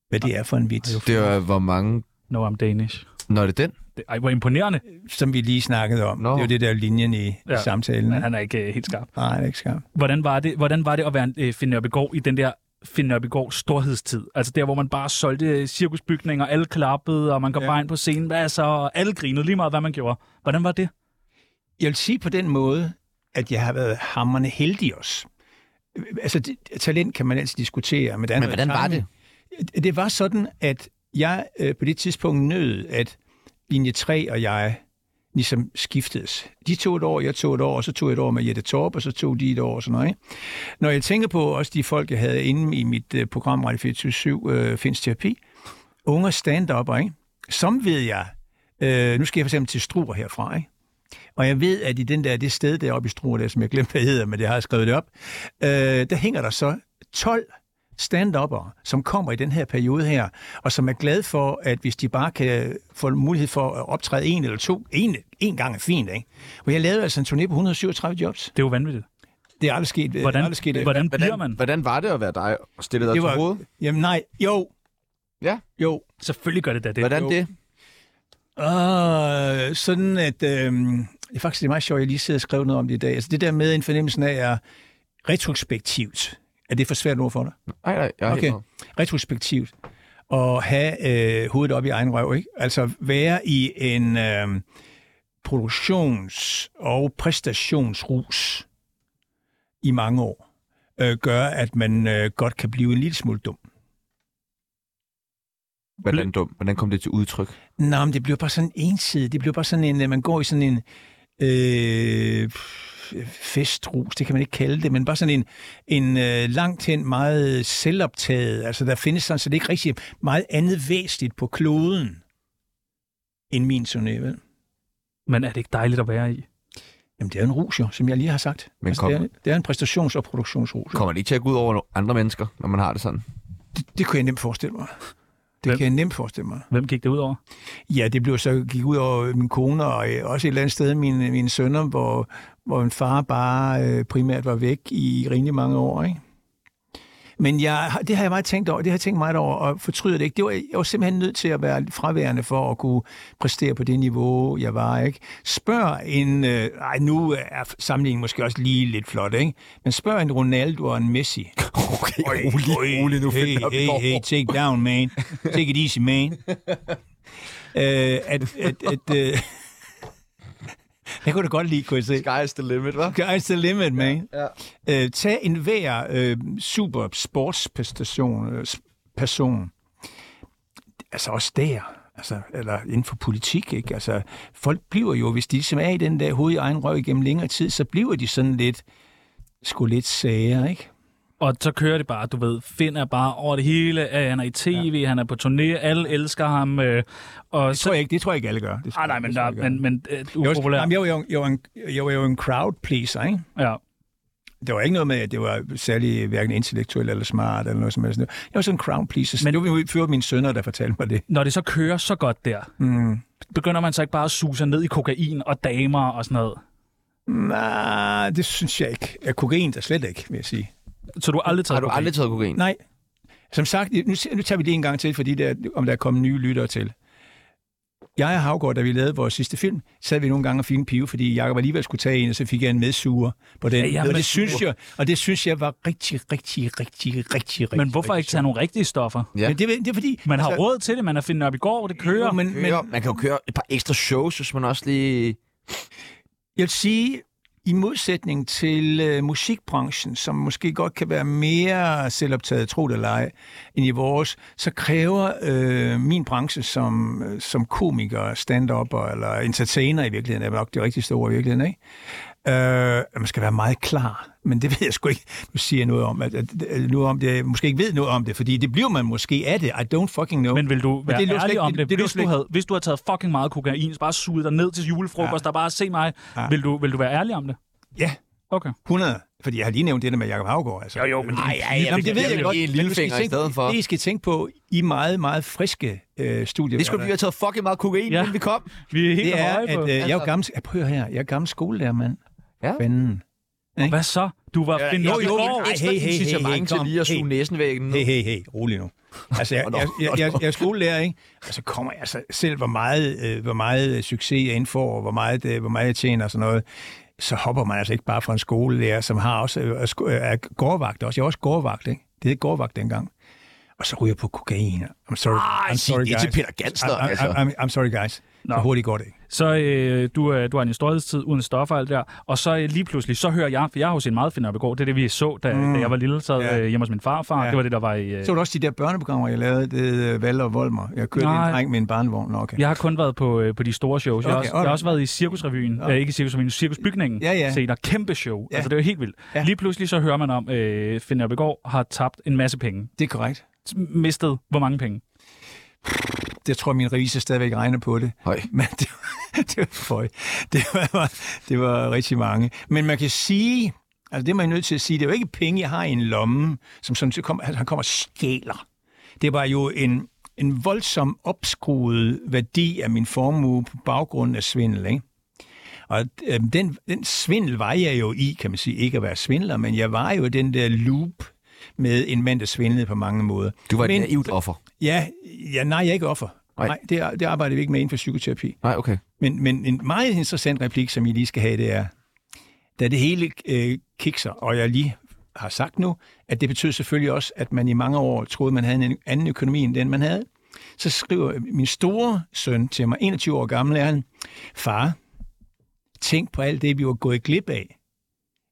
Speaker 3: hvad det er for en vits,
Speaker 1: Det var, hvor mange...
Speaker 2: No, I'm Danish.
Speaker 1: Nå, er det den?
Speaker 2: Det, ej, hvor imponerende.
Speaker 3: som vi lige snakkede om.
Speaker 1: Nå.
Speaker 3: Det er jo det der linjen i, ja. i
Speaker 2: Ja.
Speaker 3: samtalen.
Speaker 2: Men
Speaker 3: ikke?
Speaker 2: han er ikke øh, helt skarp.
Speaker 3: Nej, det er ikke skarpt.
Speaker 2: Hvordan var det, hvordan var det at være en øh, Finn Nørbegaard i den der Finn Nørbegaard storhedstid? Altså der, hvor man bare solgte øh, cirkusbygninger, alle klappede, og man kom
Speaker 3: Ja.
Speaker 2: ja. bare ind på scenen. Hvad så? Og alle grinede lige meget, hvad man gjorde. Hvordan var det?
Speaker 3: Jeg vil sige på den måde, at jeg har været hammerne heldig også. Altså, det, talent kan man altid diskutere. Men, der er
Speaker 1: Men
Speaker 3: noget
Speaker 1: hvordan var
Speaker 3: timing.
Speaker 1: det?
Speaker 3: Det var sådan, at jeg øh, på det tidspunkt nød, at linje 3 og jeg ligesom skiftedes. De tog et år, jeg tog et år, og så tog jeg et år med Jette Torp, og så tog de et år og sådan noget. Ikke? Når jeg tænker på også de folk, jeg havde inde i mit øh, program Radio 24 øh, Finds Terapi, unge stand-upper, ikke? som ved jeg, øh, nu skal jeg for eksempel til Struer herfra, ikke? og jeg ved, at i den der, det sted deroppe i Struer, der, som jeg glemte, hvad hedder, men det har jeg skrevet det op, øh, der hænger der så 12 stand som kommer i den her periode her, og som er glad for, at hvis de bare kan få mulighed for at optræde en eller to, en, en gang er fint, ikke? Og jeg lavede altså en turné på 137 jobs.
Speaker 2: Det er jo vanvittigt.
Speaker 3: Det er aldrig sket. det er
Speaker 2: Hvordan,
Speaker 3: aldrig sket, øh,
Speaker 2: hvordan bliver
Speaker 1: Hvordan,
Speaker 2: man?
Speaker 1: hvordan var det at være dig og stille dig
Speaker 3: det
Speaker 1: til
Speaker 3: var,
Speaker 1: hovedet?
Speaker 3: jamen nej, jo.
Speaker 1: Ja.
Speaker 3: Jo.
Speaker 2: Selvfølgelig gør det da det.
Speaker 1: Hvordan
Speaker 3: jo.
Speaker 1: det?
Speaker 3: Øh, sådan at, øh, det er faktisk det er meget sjovt, at jeg lige sidder og skriver noget om det i dag. Altså det der med en fornemmelse af er retrospektivt. Er det for svært ord for dig?
Speaker 1: Nej, nej, jeg er
Speaker 3: Okay.
Speaker 1: helt med.
Speaker 3: retrospektivt og have øh, hovedet op i egen røv, ikke? Altså være i en øh, produktions- og præstationsrus i mange år, øh, gør, at man øh, godt kan blive en lille smule dum.
Speaker 1: Hvordan, dum? Hvordan kom det til udtryk?
Speaker 3: Nå, men det bliver bare sådan ensidigt. Det bliver bare sådan en, øh, man går i sådan en øh, festrus, det kan man ikke kalde det, men bare sådan en, en øh, langt hen meget selvoptaget. Altså, der findes sådan set ikke rigtig meget andet væsentligt på kloden end min turné, vel?
Speaker 2: Men er det ikke dejligt at være i?
Speaker 3: Jamen, det er en rus jo, som jeg lige har sagt.
Speaker 1: Men
Speaker 3: altså,
Speaker 1: kom-
Speaker 3: det, er, det er en præstations- og produktionsrus. jo.
Speaker 1: Kommer det ikke til at gå ud over andre mennesker, når man har det sådan?
Speaker 3: Det, det kunne jeg nemt forestille mig. Det
Speaker 2: Hvem?
Speaker 3: kan jeg nemt forestille mig.
Speaker 2: Hvem gik det ud over?
Speaker 3: Ja, det blev så gik ud over min kone og øh, også et eller andet sted mine, mine sønner, hvor, hvor en far bare øh, primært var væk i rimelig mange år, ikke? Men jeg, har- det har jeg meget tænkt over, det har jeg tænkt meget over, og fortryder det ikke. Det var, jeg var simpelthen nødt til at være fraværende for at kunne præstere på det niveau, jeg var, ikke? Spørg en, øh, ej, nu er sammenligningen måske også lige lidt flot, ikke? Men spørg en Ronaldo og en Messi. Okay,
Speaker 1: rolig, rolig nu,
Speaker 3: Hey,
Speaker 1: Philip.
Speaker 3: hey, hey, take it down, man. Take it easy, man. Øh, at, at, at, øh, jeg kunne da godt lide, kunne jeg se.
Speaker 1: Sky's the limit, hva'?
Speaker 3: Sky's the limit, man. Ja, ja. Øh, tag en hver øh, super sportspræstation øh, s- person. Altså også der. Altså, eller inden for politik, ikke? Altså, folk bliver jo, hvis de som er i den der hoved i egen røv igennem længere tid, så bliver de sådan lidt, sgu lidt sager, ikke?
Speaker 2: Og så kører det bare, du ved, Finn er bare over det hele, øh, han er i tv, ja. han er på turné, alle elsker ham, øh, og
Speaker 3: Det
Speaker 2: så...
Speaker 3: tror jeg ikke, det tror jeg ikke alle gør. Det tror
Speaker 2: Ah, nej,
Speaker 3: jeg-
Speaker 2: men,
Speaker 3: det tror
Speaker 2: der,
Speaker 3: jeg ikke, alle
Speaker 2: men, men øh,
Speaker 3: gør. Jeg var-
Speaker 2: upopulær.
Speaker 3: Jamen, jeg var jo en- jeg var en- jeg var jo en crowd pleaser, ikke?
Speaker 2: Ja.
Speaker 3: Det var ikke noget med, at det var særlig hverken intellektuelt eller smart eller noget som helst. Jeg var sådan en crown pleaser. Men det var jo før mine sønner, der fortalte mig det.
Speaker 2: Når det så kører så godt der,
Speaker 3: Mm.
Speaker 2: begynder man så ikke bare at suge sig ned i kokain og damer og sådan noget?
Speaker 3: Nej, det synes jeg ikke. Jeg kokain der slet ikke, vil jeg sige.
Speaker 2: Så du har aldrig taget
Speaker 1: Har du
Speaker 2: kokain?
Speaker 1: aldrig taget kokain?
Speaker 3: Nej. Som sagt, nu, nu tager vi det en gang til, fordi der, om der er kommet nye lyttere til. Jeg og Havgård, da vi lavede vores sidste film, sad vi nogle gange og fik en pive, fordi Jacob alligevel skulle tage en, og så fik jeg en medsuger på den.
Speaker 2: Ja, ja,
Speaker 3: Ja, og,
Speaker 2: medsuger.
Speaker 3: det synes jeg, og det synes jeg var rigtig, rigtig, rigtig, rigtig, rigtig
Speaker 2: Men hvorfor ikke tage nogle rigtige stoffer?
Speaker 1: Ja.
Speaker 3: Ja. Men det, er- det er fordi... Altså-
Speaker 2: Man har råd til det, man har fundet op i går, det kører.
Speaker 3: Jo, men, men,
Speaker 1: Men... Man kan jo køre et par ekstra shows, hvis man også lige...
Speaker 3: Jeg vil sige, i modsætning til øh, musikbranchen, som måske godt kan være mere selvoptaget, tro det eller ej, end i vores, så kræver øh, min branche som, øh, som komiker, stand-up eller entertainer i virkeligheden, er nok det rigtige store i virkeligheden, ikke? Øh, at man skal være meget klar, men det ved jeg sgu ikke. Nu siger jeg noget om, at, at, at, noget om det, jeg måske ikke ved noget om det, fordi det bliver man måske af det. I don't fucking know.
Speaker 2: Men vil du være det
Speaker 3: det lød slet
Speaker 2: ærlig
Speaker 3: ikke-
Speaker 2: om
Speaker 3: det-
Speaker 2: det?
Speaker 3: det lød
Speaker 2: hvis,
Speaker 3: slet
Speaker 2: du
Speaker 3: ikke-
Speaker 2: havde, hvis du havde taget fucking meget
Speaker 3: Mm.
Speaker 2: kokain, så bare suget dig ned til julefrokost, ja. der bare se mig, ja. vil, du, vil du være ærlig om det?
Speaker 3: Ja,
Speaker 2: Okay.
Speaker 3: 100. Fordi jeg har lige nævnt det der med Jacob Havgård. Altså.
Speaker 2: Jo, jo, men det er en
Speaker 3: ej,
Speaker 2: lille-
Speaker 3: jamen, det ved
Speaker 2: det er
Speaker 3: jeg
Speaker 2: en
Speaker 3: godt.
Speaker 1: lille
Speaker 3: men du skal
Speaker 1: finger i
Speaker 3: tænke-
Speaker 1: stedet for.
Speaker 3: Det, I skal tænke på, I meget, meget friske øh, studier.
Speaker 1: Det skulle vi have taget fucking meget kokain,
Speaker 2: Ja.
Speaker 1: ja. inden vi kom.
Speaker 2: Vi er helt
Speaker 3: det er,
Speaker 2: høje
Speaker 3: at
Speaker 2: på.
Speaker 3: øh, jeg er jo gammel, jeg prøver her, jeg er gammel skolelærer, mand.
Speaker 1: Altså- Ja.
Speaker 3: Fanden.
Speaker 2: Hvad så? Du var ja,
Speaker 1: Jo,
Speaker 2: jo,
Speaker 1: jo,
Speaker 2: jo,
Speaker 1: ekstra
Speaker 3: hey, hey, hey,
Speaker 1: incitament
Speaker 3: hey,
Speaker 1: til
Speaker 3: kom.
Speaker 1: lige at suge
Speaker 3: Hey.
Speaker 1: næsen væk.
Speaker 3: Hey, hey, hey, rolig nu. Altså, jeg,
Speaker 1: Nå, nå,
Speaker 3: jeg, jeg, jeg,
Speaker 1: nå.
Speaker 3: jeg er skolelærer, ikke? Og så kommer jeg så selv, hvor meget, øh, hvor meget succes jeg indfor, og hvor meget, øh, hvor meget jeg tjener og sådan noget. Så hopper man altså ikke bare fra en skolelærer, som har også, øh, er sko- øh, er gårdvagt også. Jeg er også gårdvagt, ikke? Det hed gårdvagt dengang. Og så ryger jeg på kokain. I'm sorry, I'm
Speaker 1: sig
Speaker 3: sorry
Speaker 1: det
Speaker 3: guys.
Speaker 1: til Peter Ganster,
Speaker 3: I'm, I'm,
Speaker 1: altså.
Speaker 3: I'm, I'm sorry, guys.
Speaker 2: Nå.
Speaker 3: Nå. Så hurtigt går det ikke.
Speaker 2: så øh, du, øh, du har en historietid uden stoffer og alt der, og så øh, lige pludselig, så hører jeg, for jeg har jo set meget Finn Oppegård, det er det, vi så, da, mm. da jeg var lille, sad
Speaker 3: Ja.
Speaker 2: øh, hjemme hos min farfar, ja.
Speaker 3: Ja.
Speaker 2: det var det, der var i... Øh,
Speaker 3: Så var der også de der børneprogrammer, jeg lavede, det øh, Valder og Volmer. Jeg kørte
Speaker 2: Nej.
Speaker 3: en dreng med en barnevogn. Nå, okay.
Speaker 2: Jeg har kun været på, øh, på de store shows. Okay, jeg, har
Speaker 3: Okay,
Speaker 2: også, jeg
Speaker 3: alright.
Speaker 2: har også været i Cirkusrevyen. Ja. Øh, ikke Cirkusrevyen, Cirkusbygningen.
Speaker 3: Ja, ja.
Speaker 2: Se, der er kæmpe show. Ja.
Speaker 3: Ja.
Speaker 2: Altså, det er jo helt vildt. Ja.
Speaker 3: Ja.
Speaker 2: Lige pludselig så hører man om, øh, Finn Ørbegård har tabt en masse penge.
Speaker 3: Det er korrekt.
Speaker 2: S- Mistet hvor mange penge?
Speaker 3: Jeg tror, min revisor stadigvæk regner på det.
Speaker 1: Høj.
Speaker 3: Men det var, det var, føj. det var, det var rigtig mange. Men man kan sige, altså det er man nødt til at sige, det er jo ikke penge, jeg har i en lomme, som sådan set kommer, altså, han kommer og stjæler. Det var jo en, en voldsom opskruet værdi af min formue på baggrund af svindel, ikke? Og øh, den, den svindel var jeg jo i, kan man sige, ikke at være svindler, men jeg var jo i den der loop med en mand, der svindlede på mange måder.
Speaker 1: Du var et
Speaker 3: men,
Speaker 1: naivt offer.
Speaker 3: Ja, ja, nej, jeg er ikke offer.
Speaker 1: Nej.
Speaker 3: Nej, nej det, er- det arbejder vi ikke med inden for psykoterapi.
Speaker 1: Nej, okay.
Speaker 3: Men, men en meget interessant replik, som I lige skal have, det er, da det hele øh, kikser, og jeg lige har sagt nu, at det betød selvfølgelig også, at man i mange år troede, man havde en anden økonomi end den, man havde, så skriver min store søn til mig, 21 år gammel er han, far, Tænk på alt det, vi var gået glip af,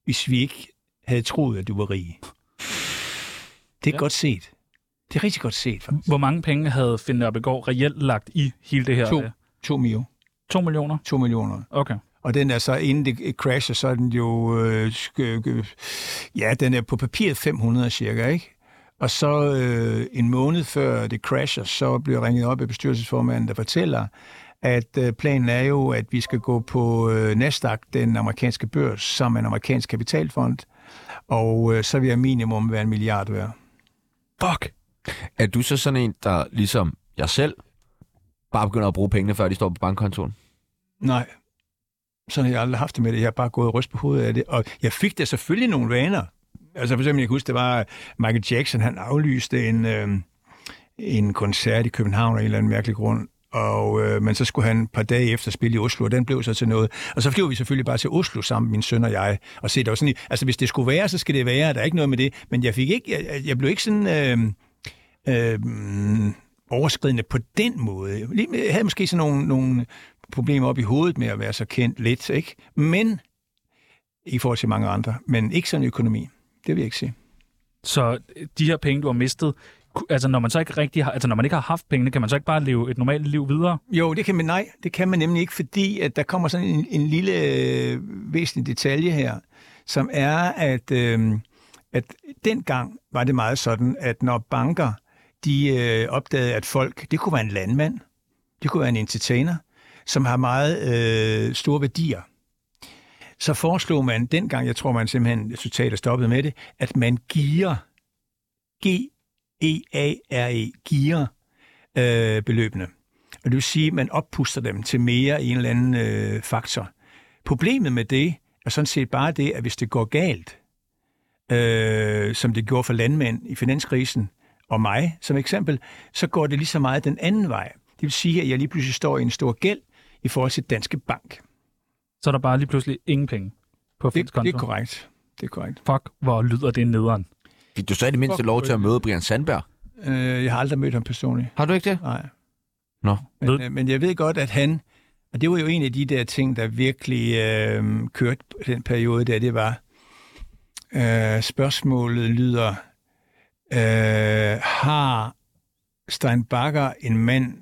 Speaker 3: hvis vi ikke havde troet, at du var rig. Det er ja. godt set. Det er rigtig godt set, faktisk.
Speaker 2: Hvor mange penge havde Finn Nørbegaard reelt lagt i hele det her?
Speaker 3: To,
Speaker 2: øh,
Speaker 3: to, mio.
Speaker 2: to millioner?
Speaker 3: to millioner.
Speaker 2: Okay.
Speaker 3: Og den er så, inden det crasher, så er den jo... Øh, skø, gø, ja, den er på papiret 500 cirka, ikke? Og så øh, en måned før det crasher, så bliver jeg ringet op af bestyrelsesformanden, der fortæller, at øh, planen er jo, at vi skal gå på øh, Nasdaq, den amerikanske børs, som en amerikansk kapitalfond, og øh, så vil jeg minimum være en milliard værd.
Speaker 2: Fuck!
Speaker 1: Er du så sådan en, der ligesom jeg selv, bare begynder at bruge pengene, før de står på bankkontoen?
Speaker 3: Nej, sådan har jeg aldrig haft det med det. Jeg har bare gået og rystet på hovedet af det. Og jeg fik da selvfølgelig nogle vaner. Altså for eksempel, jeg kan huske, det var Michael Jackson, han aflyste en, øh, en koncert i København af en eller anden mærkelig grund. Og, øh, men så skulle han et par dage efter spille i Oslo, og den blev så til noget. Og så flyver vi selvfølgelig bare til Oslo sammen, min søn og jeg. Og se, der var sådan, altså hvis det skulle være, så skal det være, der er ikke noget med det. Men jeg, fik ikke, jeg, jeg blev ikke sådan... øhm, Øh, øh, overskridende på den måde. Lige- Jeg havde måske sådan nogle, nogle problemer op i hovedet med at være så kendt lidt, ikke? Men, ikke i forhold til mange andre, men ikke sådan en økonomi. Det vil jeg ikke sige.
Speaker 2: Så øh, de her penge, du har mistet, ku- altså når man så ikke rigtig har, altså når man ikke har haft pengene, kan man så ikke bare leve et normalt liv videre?
Speaker 3: Jo, det kan man, nej, det kan man nemlig ikke, fordi at der kommer sådan en, en lille øh, væsentlig detalje her, som er, at, øh, at dengang var det meget sådan, at når banker de øh, opdagede, at folk, det kunne være en landmand, det kunne være en entertainer, som har meget øh, store værdier, så foreslog man dengang, jeg tror man simpelthen totalt stoppede med det, at man giver, E G-E-A-R-E, giver øh, beløbene. Og det vil sige, at man oppuster dem til mere en eller anden øh, faktor. Problemet med det er sådan set bare det, at hvis det går galt, øh, som det gjorde for landmænd i finanskrisen, og mig som eksempel, så går det lige så meget den anden vej. Det vil sige, at jeg lige pludselig står i en stor gæld i forhold til Danske Bank.
Speaker 2: Så er der bare lige pludselig ingen penge på Finns
Speaker 3: Det, det er
Speaker 2: konto.
Speaker 3: korrekt. Det er korrekt.
Speaker 2: Fuck, hvor lyder det nederen.
Speaker 1: Fik du så i det mindste
Speaker 3: Fuck,
Speaker 1: lov til at møde Brian Sandberg?
Speaker 3: Øh, jeg har aldrig mødt ham personligt.
Speaker 1: Har du ikke det?
Speaker 3: Nej.
Speaker 1: Nå.
Speaker 2: Ved-
Speaker 3: Men, øh, men jeg ved godt, at han, og det var jo en af de der ting, der virkelig øh, kørte på den periode der, det var, øh, spørgsmålet lyder, øh, har Stein Bakker en mand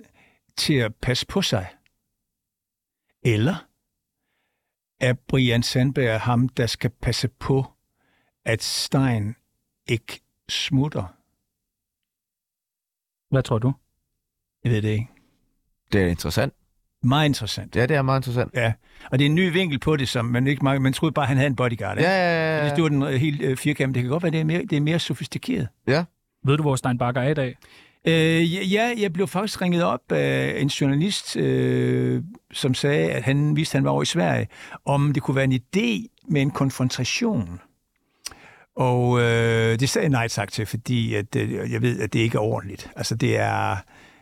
Speaker 3: til at passe på sig? Eller er Brian Sandberg ham, der skal passe på, at Stein ikke smutter?
Speaker 2: Hvad tror du?
Speaker 3: Jeg ved det ikke.
Speaker 1: Det er interessant.
Speaker 3: Meget interessant.
Speaker 1: Ja, det er meget interessant.
Speaker 3: Ja, og det er en ny vinkel på det, som man ikke man, man troede bare, han havde en bodyguard. Ikke?
Speaker 1: Ja, ja,
Speaker 3: Hvis
Speaker 1: ja,
Speaker 3: det
Speaker 1: ja.
Speaker 3: var den øh, helt øh, firkant, det kan godt være, det er mere, det er mere sofistikeret.
Speaker 2: Ved du, hvor Stein Bakker er i dag?
Speaker 3: Øh, ja, ja, jeg blev faktisk ringet op af en journalist, øh, som sagde, at han vidste, at han var over i Sverige, om det kunne være en idé med en konfrontation. Og øh, det sagde jeg nej tak til, fordi at, øh, jeg ved, at det ikke er ordentligt. Altså, det er,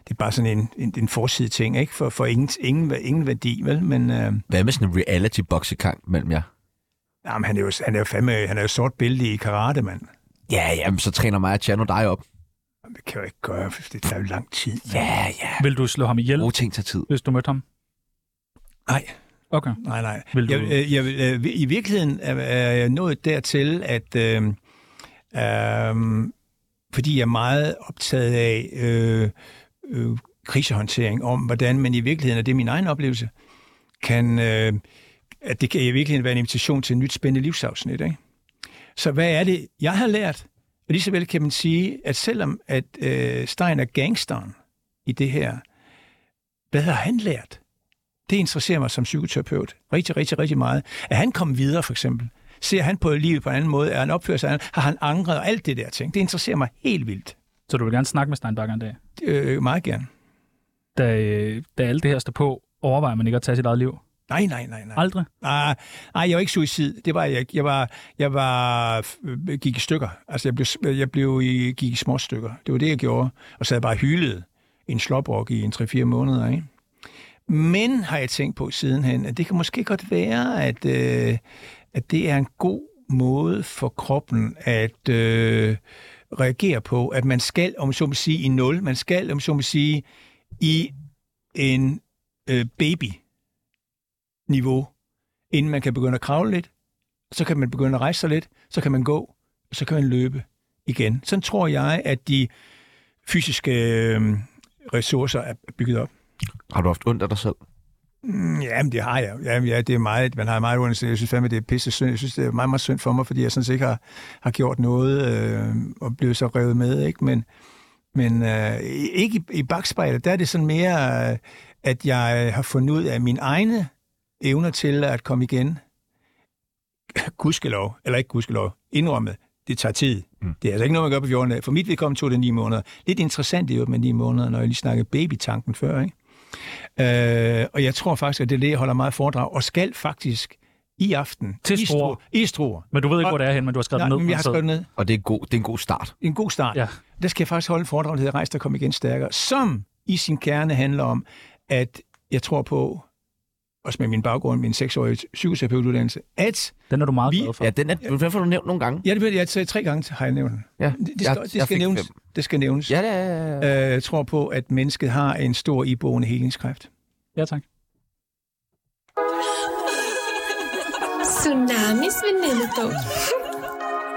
Speaker 3: det er bare sådan en, en, en forside ting, ikke? For, for ingen, ingen, ingen værdi, vel? Men... Øh,
Speaker 1: Hvad med sådan en reality-boksekamp mellem jer?
Speaker 3: Jamen, han er jo, han er jo fandme, han er jo sort bælte i karate, mand.
Speaker 1: Ja, jamen, så træner mig og Tjerno dig op.
Speaker 3: Jamen, Det kan jeg jo ikke gøre, for det tager jo lang tid.
Speaker 1: Ja, ja.
Speaker 2: Vil du slå ham ihjel,
Speaker 1: Gode ting tager tid.
Speaker 2: hvis du mødte ham?
Speaker 3: Nej,
Speaker 2: Okay.
Speaker 3: nej, nej.
Speaker 2: Vil du-
Speaker 3: Jeg, øh, jeg, vil, øh, I virkeligheden er, er jeg nået dertil, at øh, øh, fordi jeg er meget optaget af øh, øh, krisehåndtering, om hvordan man i virkeligheden, og det er min egen oplevelse, kan, øh, at det kan i virkeligheden være en invitation til et nyt spændende livsafsnit. Ikke? Så hvad er det, jeg har lært? Og lige så vel kan man sige, at selvom at øh, Stein er gangsteren i det her, hvad har han lært? Det interesserer mig som psykoterapeut rigtig, rigtig, rigtig meget. Er han kommet videre, for eksempel? Ser han på livet på en anden måde? Er han opført sig? Har han angret? Og alt det der ting. Det interesserer mig helt vildt.
Speaker 2: Så du vil gerne snakke med Stein Bakker en dag?
Speaker 3: Øh, meget gerne.
Speaker 2: Da, øh, da alt det her står på, overvejer man ikke at tage sit eget liv?
Speaker 3: Nej, nej, nej, nej.
Speaker 2: Aldrig?
Speaker 3: Nej, Ah, nej, jeg var ikke suicid. Det var jeg ikke. Jeg var, jeg var, øh, gik i stykker. Altså, jeg blev, jeg blev i, gik i små stykker. Det var det, jeg gjorde. Og sad bare hyldet i en slåbrok i en 3-4 måneder, ikke? Men har jeg tænkt på sidenhen, at det kan måske godt være, at, øh, at det er en god måde for kroppen at øh, reagere på, at man skal, om så må sige, i nul, man skal, om så må sige, i en øh, baby-niveau inden man kan begynde at kravle lidt. Så kan man begynde at rejse sig lidt, så kan man gå, og så kan man løbe igen. Sådan tror jeg, at de fysiske øh, ressourcer er bygget op.
Speaker 1: Har du haft ondt af dig selv?
Speaker 3: Mm, Jamen, det har jeg. Jamen, ja, det er meget, man har meget ondt. Jeg synes fandme, det er pisse synd. Jeg synes, det er meget, meget synd for mig, fordi jeg sådan set ikke har, har gjort noget øh, og blevet så revet med, ikke? Men, men øh, ikke i, i bagspejlet, der er det sådan mere, øh, at jeg har fundet ud af mine egne evner til at komme igen. Gudskelov, eller ikke gudskelov, indrømmet, det tager tid. Mm. Det er altså ikke noget, man gør på 14 dage. For mit vedkommende tog det 9 måneder. Lidt interessant det jo med 9 måneder, når jeg lige snakkede babytanken før, ikke? Øh, og jeg tror faktisk, at det er det, jeg holder meget foredrag, og skal faktisk i aften.
Speaker 2: Til
Speaker 3: i
Speaker 2: Struer.
Speaker 3: Struer. I Struer.
Speaker 2: Men du ved ikke,
Speaker 3: Og-
Speaker 2: hvor det er hen, men du har skrevet
Speaker 3: Nej,
Speaker 2: det ned. altså-
Speaker 3: men jeg har
Speaker 2: Så-
Speaker 3: skrevet det ned.
Speaker 1: Og det er, god, det er en god start.
Speaker 3: En god start.
Speaker 2: Ja.
Speaker 3: Der skal jeg faktisk holde en foredrag, der hedder Rejs der kom igen stærkere, som i sin kerne handler om, at jeg tror på, også med min baggrund, min seksårige psykoterapeutuddannelse, at
Speaker 2: Den er du meget
Speaker 3: Vi-
Speaker 2: glad for.
Speaker 1: Ja, den er, den får du nævnt nogle gange.
Speaker 3: Ja, det ved jeg, jeg tre gange har jeg nævnt. den.
Speaker 1: Ja,
Speaker 3: Det, det,
Speaker 1: jeg-
Speaker 3: skal, det,
Speaker 1: jeg
Speaker 3: skal
Speaker 1: fik
Speaker 3: nævnes,
Speaker 1: fem.
Speaker 3: det skal nævnes.
Speaker 1: Ja, det er...
Speaker 3: Øh, Jeg tror på, at mennesket har en stor iboende helingskræft.
Speaker 2: Ja, tak.
Speaker 7: Tsunamis venindebog.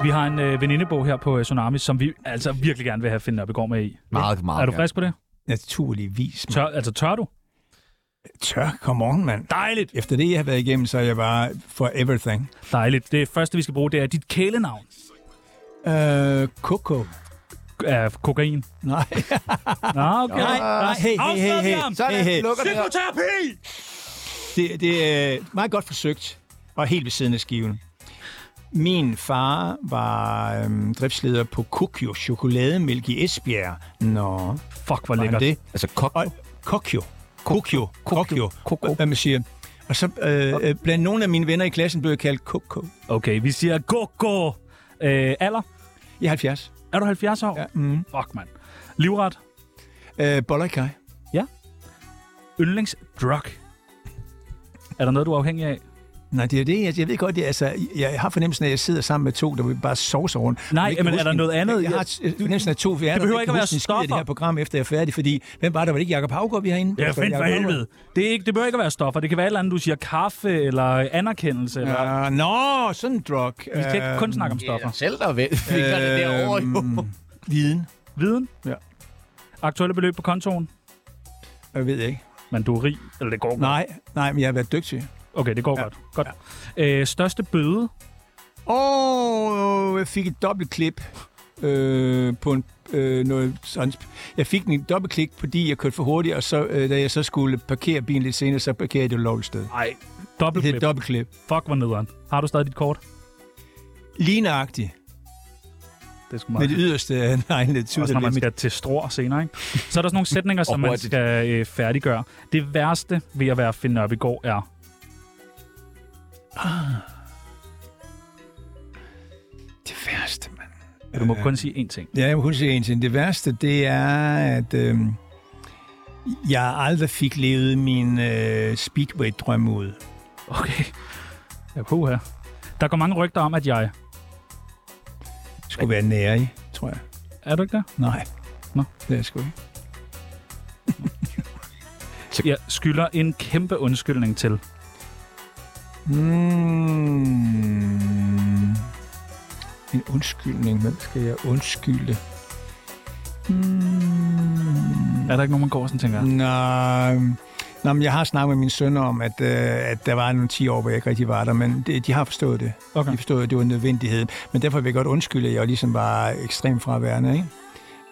Speaker 2: Vi har en øh, venindebog her på øh, Tsunami, som vi altså virkelig gerne vil have Finn Nørbegaard med i.
Speaker 1: Meget, meget
Speaker 2: er du
Speaker 1: gerne.
Speaker 2: frisk på det?
Speaker 3: Mm. Naturligvis. mand.
Speaker 2: Tør, altså, tør du?
Speaker 3: Tør, come on, mand.
Speaker 2: Dejligt!
Speaker 3: Efter det, jeg har været igennem, så er jeg bare for everything.
Speaker 2: Dejligt. Det første, vi skal bruge, det er dit kælenavn
Speaker 3: Øh, Coco.
Speaker 2: af kokain.
Speaker 3: Nej.
Speaker 2: Nå, okay.
Speaker 3: Nej, nej, hey, hey, hey, hey. hey, hey.
Speaker 2: Psykoterapi!
Speaker 3: Det, det er meget godt forsøgt, og helt ved siden af skiven. Min far var øhm, driftsleder på Kokyo Chokolademælk i Esbjerg. Nå, var
Speaker 2: Fuck, hvor
Speaker 3: han
Speaker 2: lækkert.
Speaker 3: det?
Speaker 1: Altså kok.
Speaker 3: Og Kokyo. Kokyo. Kokyo. Kokyo. Hvad man siger. Og så øh, øh, blandt nogle af mine venner i klassen blev jeg kaldt Koko.
Speaker 2: Okay, vi siger go-go. Øh, alder?
Speaker 3: Jeg er 70.
Speaker 2: Er du 70 år?
Speaker 3: Ja. Mm.
Speaker 2: Fuck, mand. Livret?
Speaker 3: Øh, boller i kaj.
Speaker 2: Yndlingsdrug? Er der noget, du er afhængig af?
Speaker 3: Nej, det er det. Jeg, jeg ved godt, det, er- altså, jeg har fornemmelsen af, at jeg sidder sammen med to, der vil bare sovse rundt.
Speaker 2: Nej,
Speaker 3: Jeg kan
Speaker 2: men
Speaker 3: huske
Speaker 2: er der
Speaker 3: en-
Speaker 2: noget andet?
Speaker 3: Jeg har øh, fornemmelsen af to fjerne,
Speaker 2: behøver ikke at være
Speaker 3: det her
Speaker 2: stoffer.
Speaker 3: program, efter jeg er færdig, fordi hvem var der? Var det ikke Jacob Havgaard, vi har inde? Altså,
Speaker 2: Ja, find for helvede. Det, er ikke, det bør ikke være stoffer. Det kan være et eller andet, du siger kaffe eller anerkendelse. Eller,
Speaker 3: Uh, nå, sådan en drug. Øh,
Speaker 2: vi skal ikke kun snakke om stoffer.
Speaker 1: Selv der vel. Vi gør det derovre, jo.
Speaker 3: Viden.
Speaker 2: Viden?
Speaker 3: Ja.
Speaker 2: Aktuelle beløb på kontoen?
Speaker 3: Jeg ved ikke.
Speaker 2: Men du er rig. Eller det går godt.
Speaker 3: Nej, nej, men jeg har været dygtig.
Speaker 2: Okay, det går ja. godt. godt. Ja. Øh, største bøde?
Speaker 3: Åh, oh, jeg fik et dobbeltklip øh, på en, øh, noget sådan. Jeg fik en dobbeltklik, fordi jeg kørte for hurtigt, og så, øh, da jeg så skulle parkere bilen lidt senere, så parkerede jeg det ulovligt sted.
Speaker 2: Nej.
Speaker 3: Det
Speaker 2: Dobbeltklip.
Speaker 3: er et dobbeltklip.
Speaker 2: Fuck, hvor nederen. Har du stadig dit kort?
Speaker 3: Ligneragtigt.
Speaker 2: Det er sgu
Speaker 3: Med
Speaker 2: meget.
Speaker 3: det yderste af neglene til
Speaker 2: Også når man
Speaker 3: det
Speaker 2: skal til strå senere, ikke? Så er der sådan nogle sætninger, som
Speaker 1: Og
Speaker 2: man
Speaker 1: hurtigt.
Speaker 2: skal øh, færdiggøre. Det værste ved at være Finn op i går er...
Speaker 3: Det værste, mand.
Speaker 2: Du må kun sige én ting.
Speaker 3: Ja, jeg må kun sige en ting. Det værste, det er, at øh, jeg aldrig fik levet min øh, speedway-drøm ud.
Speaker 2: Okay. Jeg kunne her. Der går mange rygter om, at jeg...
Speaker 3: Skulle være nær i, tror jeg.
Speaker 2: Er du ikke der?
Speaker 3: Nej.
Speaker 2: Nå.
Speaker 3: Det er jeg sgu ikke.
Speaker 2: Jeg skylder en kæmpe undskyldning til.
Speaker 3: Mm. Hmm. En undskyldning. Hvem skal jeg undskylde? Hmm. Mm.
Speaker 2: Er der ikke nogen, man går og sådan tænker?
Speaker 3: Nej. Nå, men jeg har snakket med min søn om, at, øh, at der var nogle 10 år, hvor jeg ikke rigtig var der, men det, de har forstået det.
Speaker 2: Okay.
Speaker 3: De forstod, at det var en nødvendighed. Men derfor vil jeg godt undskylde, at jeg ligesom var ekstremt fraværende, ikke?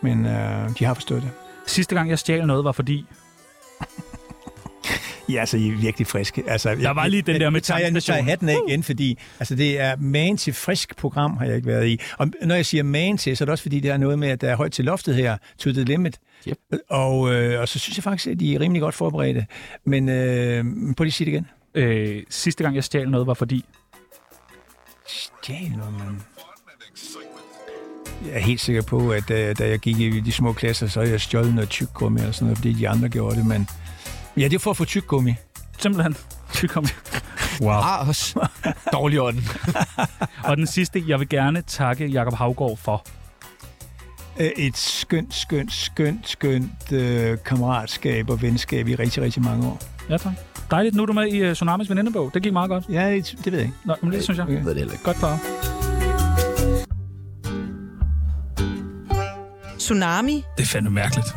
Speaker 3: Men øh, de har forstået det.
Speaker 2: Sidste gang, jeg stjal noget, var fordi...
Speaker 3: Ja, altså, I er virkelig friske. Altså,
Speaker 2: Der var lige den der med
Speaker 3: Nu tager jeg, nu tager jeg
Speaker 2: tankstationen.
Speaker 3: hatten af igen, fordi altså, det er magen til frisk program, har jeg ikke været i. Og når jeg siger magen til, så er det også fordi, det er noget med, at der er højt til loftet her, to the limit.
Speaker 1: Yep.
Speaker 3: Og, øh, og så synes jeg faktisk, at de er rimelig godt forberedte. Men øh, prøv lige at sige det igen.
Speaker 2: Øh, sidste gang, jeg stjal noget, var fordi...
Speaker 3: Stjæl noget, mand. Jeg er helt sikker på, at da, da jeg gik i de små klasser, så havde jeg stjålet noget tyggegummi eller sådan noget, fordi de andre gjorde det, men... Ja, det er for at få tyggegummi.
Speaker 2: Simpelthen. Det kom Wow.
Speaker 1: Ah, os. Dårlig ånd.
Speaker 2: Og den sidste, jeg vil gerne takke Jakob Havgård for.
Speaker 3: Øh, Et skønt, skønt, skønt, skønt øh, kammeratskab og venskab i rigtig, rigtig mange år.
Speaker 2: Ja, tak. Dejligt. Nu er du med i øh, Tsunamis venindebog. Det gik meget godt.
Speaker 3: Ja, det, det ved jeg ikke.
Speaker 2: Nå, men det synes jeg.
Speaker 3: Okay.
Speaker 1: Jeg ved det heller ikke.
Speaker 2: Godt par.
Speaker 6: Tsunami.
Speaker 2: Det er fandme mærkeligt.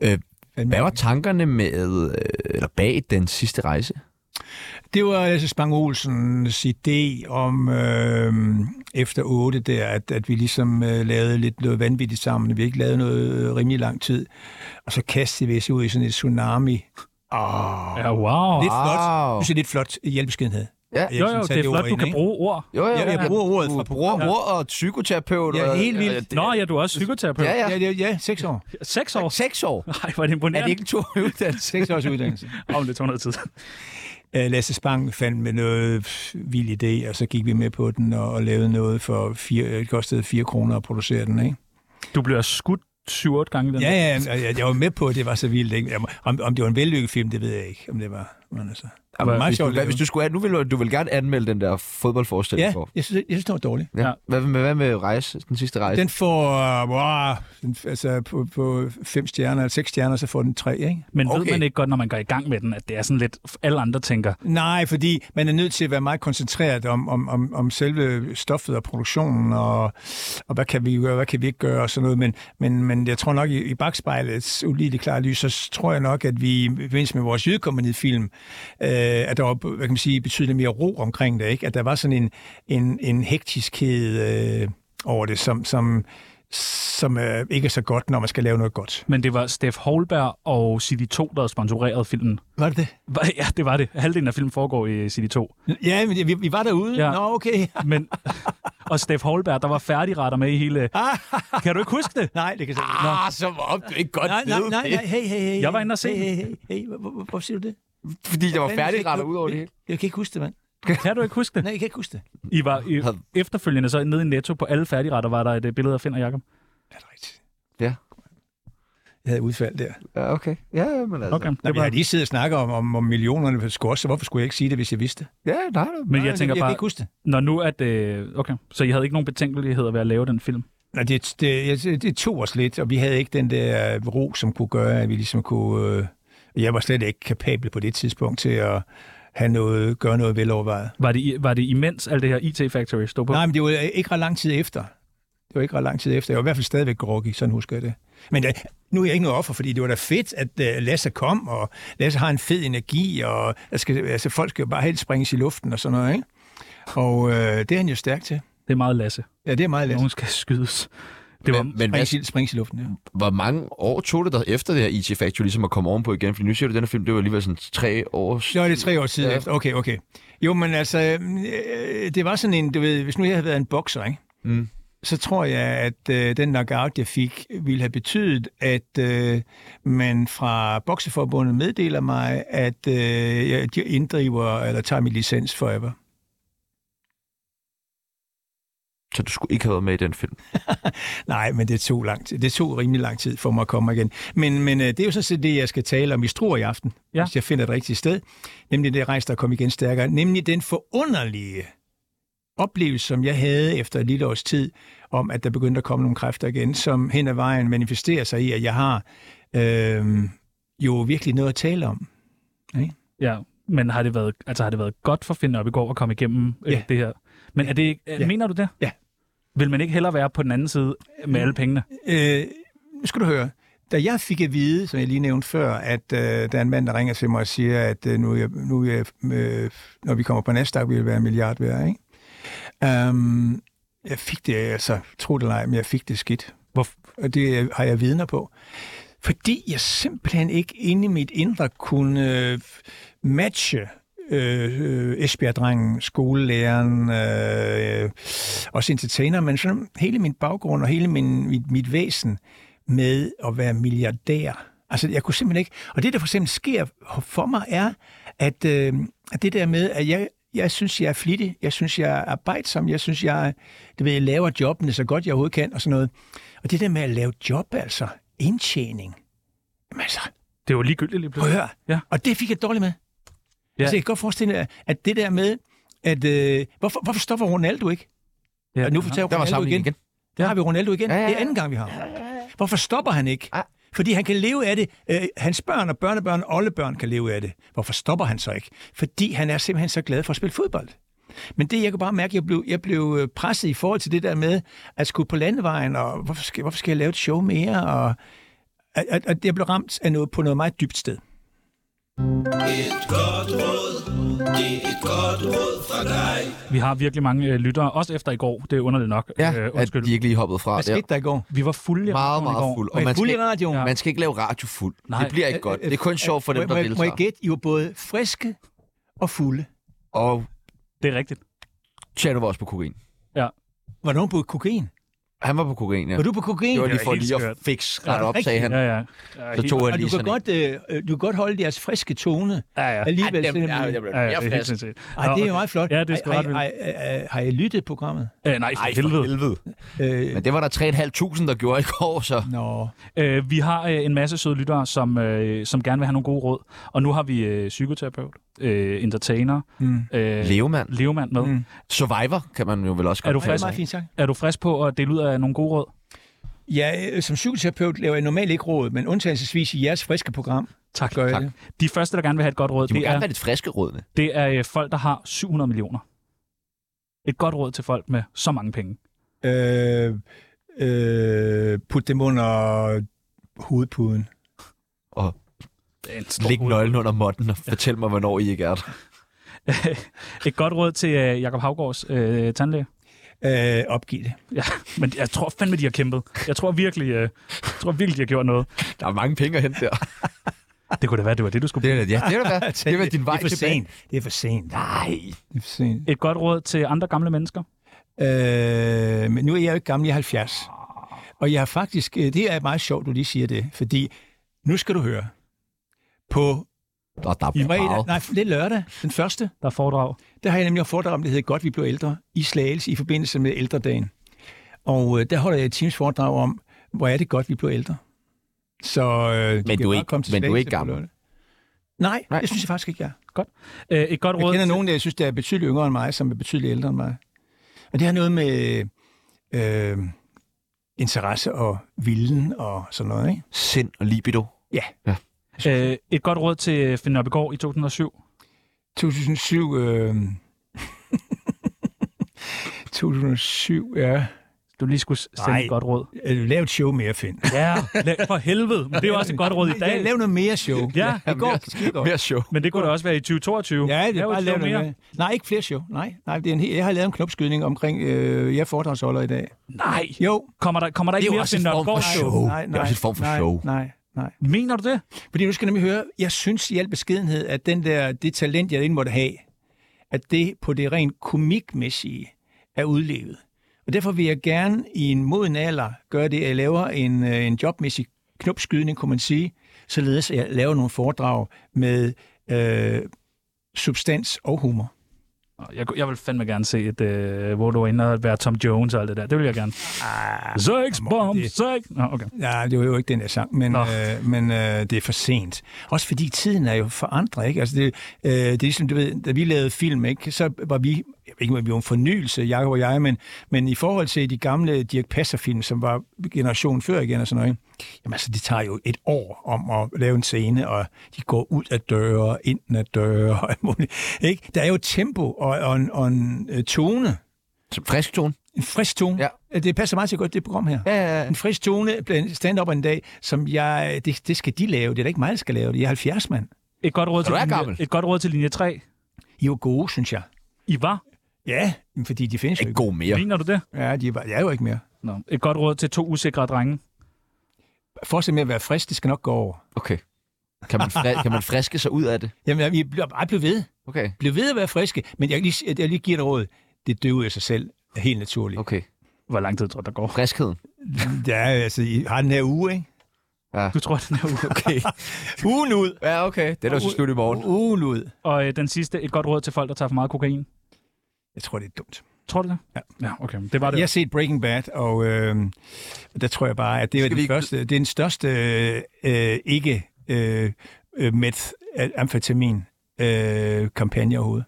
Speaker 1: Øh, Hvad var tankerne med, øh, eller bag den sidste rejse?
Speaker 3: Det var Lasse Spang Olsens idé om øh, efter 8 der, at, at vi ligesom øh, lavede lidt noget vanvittigt sammen. Vi ikke lavede noget øh, rimelig lang tid. Og så kastede vi os ud i sådan et tsunami. Oh,
Speaker 2: Ja, wow.
Speaker 3: Lidt
Speaker 1: Wow.
Speaker 3: flot. Det er lidt flot i hjælpeskedenhed.
Speaker 1: Ja.
Speaker 3: At jeg
Speaker 2: Jo,
Speaker 3: sådan
Speaker 2: jo,
Speaker 3: satte
Speaker 2: det er flot,
Speaker 3: ord
Speaker 2: du
Speaker 3: ind,
Speaker 2: kan
Speaker 3: ikke?
Speaker 2: bruge ord.
Speaker 1: Jo, jo,
Speaker 3: Ja, jeg bruger ordet fra
Speaker 1: Du bruger
Speaker 3: programmet.
Speaker 1: mor og psykoterapeut.
Speaker 3: Ja,
Speaker 1: og-
Speaker 3: helt vildt.
Speaker 1: og- Øh, det-
Speaker 2: Nå, ja, du er også psykoterapeut.
Speaker 1: Ja, ja.
Speaker 3: Ja, det, ja, seks år.
Speaker 2: Seks år.
Speaker 1: Seks år.
Speaker 2: Nej, hvor er det
Speaker 1: Er det
Speaker 2: imponerende.
Speaker 1: ikke en to uddannelse?
Speaker 3: Seks års uddannelse.
Speaker 2: Om det tog noget tid.
Speaker 3: Øh, Lasse Spang fandt med noget pff, vild idé, og så gik vi med på den og, og lavede noget for fire, øh, det kostede 4 kroner at producere den, ikke?
Speaker 2: Du bliver skudt 7-8 gange i den.
Speaker 3: Ja, ja, og jeg, jeg var med på, at det var så vildt, ikke? Jeg må- Om, om det var en vellykket film, det ved jeg ikke, om det var. Men altså, det var meget
Speaker 1: Hvis du,
Speaker 3: sjovt.
Speaker 1: hvad, hvis
Speaker 3: lavet.
Speaker 1: du skulle have, nu vil du, du vil gerne anmelde den der fodboldforestilling
Speaker 3: Ja,
Speaker 1: for.
Speaker 3: jeg synes, jeg synes, det var dårligt.
Speaker 1: Ja.
Speaker 2: Ja.
Speaker 1: Hvad, med, hvad med rejse, den sidste rejse?
Speaker 3: Den får, øh, wow, den, altså på, på fem stjerner, eller seks stjerner, så får den tre, ikke?
Speaker 2: Men
Speaker 1: Okay.
Speaker 2: ved man ikke godt, når man går i gang med den, at det er sådan lidt, alle andre tænker,
Speaker 3: Nej, fordi man er nødt til at være meget koncentreret om, om, om, om selve stoffet og produktionen, og, og hvad kan vi gøre, hvad kan vi ikke gøre, og sådan noget. Men, men, men jeg tror nok, i, i bagspejlets ulideligt klare lys, så tror jeg nok, at vi i forbindelse med vores jydekompagni-film, øh, at der var hvad kan man sige, betydeligt mere ro omkring det, ikke? at der var sådan en, en, en hektiskhed øh, over det, som, som, som øh, ikke er så godt, når man skal lave noget godt.
Speaker 2: men det var Steff Holberg og CD2, der sponsorerede filmen.
Speaker 3: Var det det?
Speaker 2: Hva- Ja, det var det. Halvdelen af filmen foregår i CD2.
Speaker 3: Ja, men vi, vi var derude.
Speaker 2: Ja.
Speaker 3: Ja. Nå, okay.
Speaker 2: Men, og Steff Holberg, der var færdigretter med i hele... Kan du ikke huske det?
Speaker 3: Nej, det kan jeg ikke.
Speaker 1: Ah, så op, du ikke godt
Speaker 3: Nej, nej,
Speaker 1: ved
Speaker 3: nej,
Speaker 1: det.
Speaker 3: nej, hey, hey, hey.
Speaker 2: Jeg var inde og se
Speaker 3: hey,
Speaker 2: den.
Speaker 3: hey, hey, hey. Hvor- hvor- hvor- Hvorfor siger du det?
Speaker 1: Fordi der var
Speaker 3: Fanden,
Speaker 1: færdigretter
Speaker 3: jeg-
Speaker 1: ud over det hele.
Speaker 3: Jeg kan ikke huske det, mand.
Speaker 2: Kan du ikke huske det?
Speaker 3: Nej, jeg kan ikke huske det.
Speaker 2: I var i, efterfølgende så nede i Netto på alle færdigretter, var der et øh, billede af Finn og Jacob.
Speaker 3: Er det rigtigt?
Speaker 1: Ja.
Speaker 3: Jeg havde udfald der.
Speaker 1: Ja, okay. Ja, ja, men altså.
Speaker 2: Okay,
Speaker 3: Nå,
Speaker 2: det
Speaker 3: men jeg har
Speaker 2: var,
Speaker 3: lige siddet og snakket om, om, om millionerne på skor, så hvorfor skulle jeg ikke sige det, hvis jeg vidste det?
Speaker 1: Ja, nej, nej.
Speaker 2: men jeg tænker
Speaker 3: jeg kan
Speaker 2: bare,
Speaker 3: ikke huske det.
Speaker 2: når nu at... øh, Okay, så I havde ikke nogen betænkeligheder ved at lave den film?
Speaker 3: Nej, det, det, jeg- det tog os lidt, og vi havde ikke den der øh, ro, som kunne gøre, at vi ligesom kunne... Øh, jeg var slet ikke kapabel på det tidspunkt til at have noget, gøre noget velovervejet.
Speaker 2: Var det, i- var det imens alt det her IT Factory stod på?
Speaker 3: Nej, men det var øh, ikke ret lang tid efter. Det var ikke ret lang tid efter. Jeg var i hvert fald stadigvæk groggy, sådan husker jeg det. Men øh, nu er jeg ikke noget offer, fordi det var da fedt, at øh, Lasse kom, og Lasse har en fed energi, og der skal, altså, folk skal jo bare helt springes i luften og sådan noget, ikke? Og øh, det er han jo stærk til.
Speaker 2: Det er meget Lasse.
Speaker 3: Ja, det er meget Lasse.
Speaker 2: Nogen skal skydes. Det var,
Speaker 1: Men hvad,
Speaker 3: Springes, i- springes i luften, ja.
Speaker 1: hvor mange år tog det der efter det her IT Factory ligesom at komme ovenpå igen? Fordi nu siger du, at den her film, det var alligevel sådan tre år.
Speaker 3: Så er det tre år siden
Speaker 1: Ja.
Speaker 3: ja. efter. Okay, okay. Jo, men altså, øh, det var sådan en, du ved, hvis nu jeg havde været en bokser, ikke?
Speaker 1: Mm.
Speaker 3: så tror jeg, at øh, den knockout, jeg fik, ville have betydet, at øh, man fra Bokseforbundet meddeler mig, at øh, jeg de inddriver eller tager min licens forever.
Speaker 1: Så du skulle ikke have været med i den film.
Speaker 3: Nej, men det tog, lang tid. det tog rimelig lang tid for mig at komme igen. Men, men øh, det er jo sådan set det, jeg skal tale om i Struer i aften,
Speaker 2: Ja.
Speaker 3: ja. hvis jeg finder et rigtigt sted. Nemlig det rejse, der kom igen stærkere. Nemlig den forunderlige oplevelse, som jeg havde efter et lille års tid, om at der begyndte at komme nogle kræfter igen, som hen ad vejen manifesterer sig i, at jeg har øh, jo virkelig noget at tale om.
Speaker 2: ja, men har det været, altså, har det været godt for Finn Nørbegaard at komme igennem øh,
Speaker 3: Ja.
Speaker 2: det her? Men er det, ikke- øh,
Speaker 3: Ja.
Speaker 2: mener du det?
Speaker 3: Ja.
Speaker 2: Vil man ikke hellere være på den anden side med alle pengene?
Speaker 3: Øh, nu skal du høre. Da jeg fik at vide, som jeg lige nævnte før, at øh, der er en mand, der ringer til mig og siger, at øh, nu, er jeg, nu er jeg, øh, når vi kommer på Nasdaq, vil jeg være en milliard værd, ikke? Um, jeg fik det, altså, tro det eller ej, men jeg fik det skidt.
Speaker 2: Hvor,
Speaker 3: Og det har jeg vidner på. Fordi jeg simpelthen ikke inde i mit indre kunne øh, matche øh, øh, Esbjerg-drengen, skolelæreren, øh, også entertainer, men sådan hele min baggrund og hele min, mit, mit væsen med at være milliardær. Altså, jeg kunne simpelthen ikke... Og det, der for eksempel sker for mig, er, at, øh, at det der med, at jeg, jeg synes, jeg er flittig, jeg synes, jeg er arbejdsom, jeg synes, jeg, det ved, jeg laver jobbene så godt, jeg overhovedet kan, og sådan noget. Og det der med at lave job, altså, indtjening, jamen altså,
Speaker 2: det var ligegyldigt lige
Speaker 3: prøv at
Speaker 2: pludselig.
Speaker 3: høre.
Speaker 2: Ja.
Speaker 3: Og det fik jeg dårligt med.
Speaker 2: Ja.
Speaker 3: Ja. Altså, jeg kan godt forestille mig, at det der med, at øh, hvorfor, hvorfor stopper Ronaldo ikke?
Speaker 2: Ja,
Speaker 3: og nu fortæller
Speaker 1: Der var
Speaker 3: Ronaldo igen.
Speaker 1: sammenligning
Speaker 3: igen.
Speaker 1: igen.
Speaker 3: Der har vi Ronaldo igen.
Speaker 1: Ja,
Speaker 3: Ja,
Speaker 1: ja,
Speaker 3: ja,
Speaker 1: ja.
Speaker 3: Det er anden gang, vi har ham. Hvorfor stopper han ikke?
Speaker 1: Ah.
Speaker 3: Fordi han kan leve af det. Øh, hans børn og børnebørn og oldebørn kan leve af det. Hvorfor stopper han så ikke? Fordi han er simpelthen så glad for at spille fodbold. Men det, jeg kunne bare mærke, jeg blev, jeg blev øh, presset i forhold til det der med at skulle på landevejen, og hvorfor skal, hvorfor skal jeg lave et show mere? Og, at, at, at jeg blev ramt af noget, på noget meget dybt sted.
Speaker 2: Vi har virkelig mange øh, lyttere, også efter i går. Det er underligt nok.
Speaker 1: Ja,
Speaker 2: øh,
Speaker 1: at
Speaker 2: undskyld.
Speaker 1: de ikke lige hoppede fra
Speaker 3: Hvad
Speaker 1: der.
Speaker 3: skete der i går?
Speaker 2: Vi var fulde i
Speaker 1: Meget,
Speaker 2: radioen i
Speaker 1: meget
Speaker 2: går.
Speaker 1: fuld.
Speaker 3: Var I
Speaker 1: man
Speaker 3: fulde
Speaker 1: skal,
Speaker 3: i radioen?
Speaker 1: ja. man skal ikke lave radio fuld. Nej.
Speaker 2: Nej.
Speaker 1: Det bliver ikke godt. Det er kun sjovt for dem,
Speaker 3: må,
Speaker 1: der
Speaker 3: jeg- Må jeg
Speaker 1: deltager.
Speaker 3: gætte, I var både friske og fulde.
Speaker 1: Og
Speaker 2: Det er rigtigt.
Speaker 1: Tjerno var også på kokain.
Speaker 3: Var nogen på kokain?
Speaker 1: Han var på kokain, ja.
Speaker 3: Var du på kokain?
Speaker 1: Det var
Speaker 2: Det
Speaker 1: lige
Speaker 2: er
Speaker 1: for
Speaker 2: helt
Speaker 1: lige at
Speaker 2: skørt.
Speaker 1: fix ret op,
Speaker 3: Ja,
Speaker 1: sagde han.
Speaker 2: Ja, ja. ja
Speaker 1: Så tog han lige
Speaker 3: og du kan,
Speaker 1: sådan en.
Speaker 3: godt, øh, øh, du kan godt holde jeres friske tone
Speaker 2: Ja, ja.
Speaker 3: alligevel.
Speaker 1: Ej, dem-
Speaker 3: selvom I-
Speaker 1: ja, jeg blev
Speaker 2: Ja, ja,
Speaker 1: mere
Speaker 2: det er helt
Speaker 1: frisk.
Speaker 2: sindssygt.
Speaker 3: Ej, det er jo meget flot.
Speaker 2: Ja, det er sgu
Speaker 3: Ej,
Speaker 2: ret vildt.
Speaker 3: ej, ej, ej, Har I lyttet programmet?
Speaker 2: Øh, nej, for
Speaker 1: Ej,
Speaker 2: helvede.
Speaker 1: helvede.
Speaker 3: Øh,
Speaker 1: Men det var der 3.500, der gjorde i går, så...
Speaker 3: Nå,
Speaker 2: Øh, vi har øh, en masse søde lyttere, som, øh, som gerne vil have nogle gode råd. Og nu har vi øh, psykoterapeut, øh, entertainer,
Speaker 3: Mm.
Speaker 2: øh,
Speaker 1: Levemand.
Speaker 2: levemand med.
Speaker 3: Mm.
Speaker 2: Mm.
Speaker 1: Survivor kan man jo vel også
Speaker 2: Er
Speaker 1: godt
Speaker 2: du
Speaker 3: det
Speaker 1: kalde
Speaker 3: er
Speaker 2: frisk?
Speaker 1: sig.
Speaker 3: meget fint, tak.
Speaker 2: Er du frisk på at dele ud af nogle gode råd?
Speaker 3: Ja, øh, som psykoterapeut laver jeg normalt ikke råd, men undtagelsesvis i jeres friske program
Speaker 2: Tak.
Speaker 3: gør jeg
Speaker 1: Tak.
Speaker 3: det.
Speaker 2: De første, der gerne vil have et godt råd,
Speaker 1: De må
Speaker 2: det
Speaker 1: gerne
Speaker 2: er,
Speaker 1: være lidt friske rådene.
Speaker 2: det er øh, folk, der har 700 millioner. Et godt råd til folk med så mange penge.
Speaker 3: Øh, øh, put dem under hovedpuden.
Speaker 1: Og
Speaker 2: Det er en stor
Speaker 1: læg
Speaker 2: råd.
Speaker 1: nøglen under modden og fortæl mig, hvornår I ikke er der.
Speaker 2: Et godt råd til øh, Jakob Havgårds øh, tandlæge.
Speaker 3: Øh, opgiv det.
Speaker 2: Ja, men jeg tror fandme, de har kæmpet. Jeg tror virkelig, øh, jeg tror virkelig de har gjort noget.
Speaker 1: Der er mange penge at hente der.
Speaker 2: Det kunne da være, det var det, du skulle
Speaker 1: Det er det, ja, det er det, det er vel din vej
Speaker 3: det er for
Speaker 1: tilbage.
Speaker 3: sent. Det er for sent.
Speaker 1: Nej.
Speaker 3: Det er for sent.
Speaker 2: Et godt råd til andre gamle mennesker.
Speaker 3: Øh, men nu er jeg jo ikke gammel, jeg er 70. Og jeg har faktisk, øh, det er meget sjovt, du lige siger det, fordi nu skal du høre. På
Speaker 1: Der, der er
Speaker 3: fredag,
Speaker 1: meget.
Speaker 3: nej, det er lørdag, den første,
Speaker 2: Der er foredrag.
Speaker 3: Der har jeg nemlig et foredrag om, det hedder Godt, vi blev ældre, i Slagelse i forbindelse med ældredagen. Og øh, der holder jeg et times foredrag om, hvor er det godt, vi blev ældre. Så øh, de
Speaker 1: Men
Speaker 3: kan
Speaker 1: du er
Speaker 3: bare
Speaker 1: ikke-
Speaker 3: komme til
Speaker 1: men du er
Speaker 3: Slagelse
Speaker 1: ikke
Speaker 3: på
Speaker 1: gammel.
Speaker 3: lørdag. Nej,
Speaker 1: Nej.
Speaker 3: Nej, det synes jeg faktisk ikke, jeg er.
Speaker 2: Øh, et godt
Speaker 3: Jeg
Speaker 2: råd
Speaker 3: kender
Speaker 2: til,
Speaker 3: nogen, der jeg synes, der er betydeligt yngre end mig, som er betydeligt ældre end mig. Og det har noget med øh, interesse og vilden og sådan noget, ikke?
Speaker 1: Sind og libido.
Speaker 2: øh, et godt råd til øh, Finn Nørbegaard i 2007.
Speaker 3: 2007... Øh, 2007, ja.
Speaker 2: Du lige skulle sende
Speaker 3: Nej.
Speaker 2: et godt råd.
Speaker 3: Øh, Lav et show mere, Finn.
Speaker 2: Ja, la- for helvede. Men det er jo også et godt råd i dag.
Speaker 3: Lav noget mere show.
Speaker 2: Ja,
Speaker 3: Det går skide godt.
Speaker 1: Mere show.
Speaker 2: men det kunne da også være i 2022.
Speaker 3: Ja, det er
Speaker 2: Lav et
Speaker 3: bare
Speaker 2: show
Speaker 3: lavet mere. Med. Nej, ikke flere show. Nej, nej det er en hel... jeg har lavet en knopskydning omkring, øh, jeg er foredragsholder i dag.
Speaker 2: Nej.
Speaker 3: Jo.
Speaker 2: Kommer der, kommer
Speaker 1: Det er
Speaker 2: der ikke
Speaker 1: jo
Speaker 2: mere
Speaker 1: også
Speaker 2: Finn
Speaker 1: en form for
Speaker 2: Nørbegaard?
Speaker 1: show.
Speaker 3: Nej, nej,
Speaker 1: Det er også en form for
Speaker 3: nej,
Speaker 1: show.
Speaker 3: Nej, nej.
Speaker 2: Mener du det?
Speaker 3: Fordi nu skal jeg nemlig høre, jeg synes i al beskedenhed, at den der, det talent, jeg egentlig måtte have, at det på det rent komikmæssige er udlevet. Og derfor vil jeg gerne i en moden alder gøre det, at jeg laver en, øh, en jobmæssig knopskydning, kunne man sige, således at jeg laver nogle foredrag med øh, substans og humor.
Speaker 2: Nå, Jeg, kunne- jeg vil fandme gerne se, et, øh, hvor du er inde og være Tom Jones og alt det der. Det vil jeg gerne. Ah, sex bomb,
Speaker 3: det-
Speaker 2: sex. Nå, okay.
Speaker 3: Nej, det var jo ikke den der sang, men,
Speaker 2: Nå.
Speaker 3: øh, men øh, det er for sent. Også fordi tiden er jo forandret, ikke? Altså det, øh, det er ligesom, du ved, da vi lavede film, ikke, så var vi, jeg ved ikke om vi var en fornyelse, Jacob og jeg, men, men i forhold til de gamle Dirk Passer-film, som var generationen før igen og sådan noget, ikke? jamen altså, det tager jo et år om at lave en scene, og de går ud af døre, ind af døre, og alt muligt, ikke? Der er jo et tempo og, og, en, og en øh, tone,
Speaker 1: Som frisk tone.
Speaker 3: en frisk tone. Ja. Det passer meget så godt, det program her.
Speaker 1: Ja, ja, ja.
Speaker 3: En frisk tone blandt stand-up en dag, som jeg, det, det skal de lave. Det er da ikke mig, der skal lave det. Jeg er 70, mand.
Speaker 2: Et godt råd, til
Speaker 1: du er
Speaker 2: linje,
Speaker 1: gammel.
Speaker 2: et godt råd til linje 3.
Speaker 3: I er jo gode, synes jeg.
Speaker 2: I var?
Speaker 3: Ja, men fordi de findes jo
Speaker 1: Ikke
Speaker 3: ikke.
Speaker 1: god mere.
Speaker 2: Mener du det?
Speaker 3: Ja, de er, bare- jeg er jo ikke mere.
Speaker 2: Nå. Et godt råd til to usikre drenge.
Speaker 3: Fortsæt med at være frisk, det skal nok gå over.
Speaker 1: Okay. Kan man, fri- kan man friske sig ud af det?
Speaker 3: Jamen, vi bliver bare blev ved.
Speaker 1: Okay.
Speaker 3: Bliv ved at være friske. Men jeg, kan lige, jeg lige giver dig råd. Det døver af sig selv. Er Helt naturligt.
Speaker 1: Okay.
Speaker 2: Hvor lang tid tror du, der går?
Speaker 1: Friskheden.
Speaker 3: Ja, altså, I har den her uge, ikke?
Speaker 2: Du tror, den er ude.
Speaker 1: Okay.
Speaker 3: Ugen ud.
Speaker 1: Ja, okay. Det er da så slut i morgen.
Speaker 3: Ugen ud.
Speaker 2: Og øh, den sidste, et godt råd til folk, der tager for meget kokain.
Speaker 3: Jeg tror, det er dumt.
Speaker 2: Tror du det?
Speaker 3: Ja.
Speaker 2: ja okay. Det var det.
Speaker 3: Jeg har set Breaking Bad, og øh, der tror jeg bare, at det er
Speaker 1: Skal vi
Speaker 3: den,
Speaker 1: ikke-
Speaker 3: første, det er den største øh, ikke øh, øh, meth amfetamin øh, kampagne overhovedet.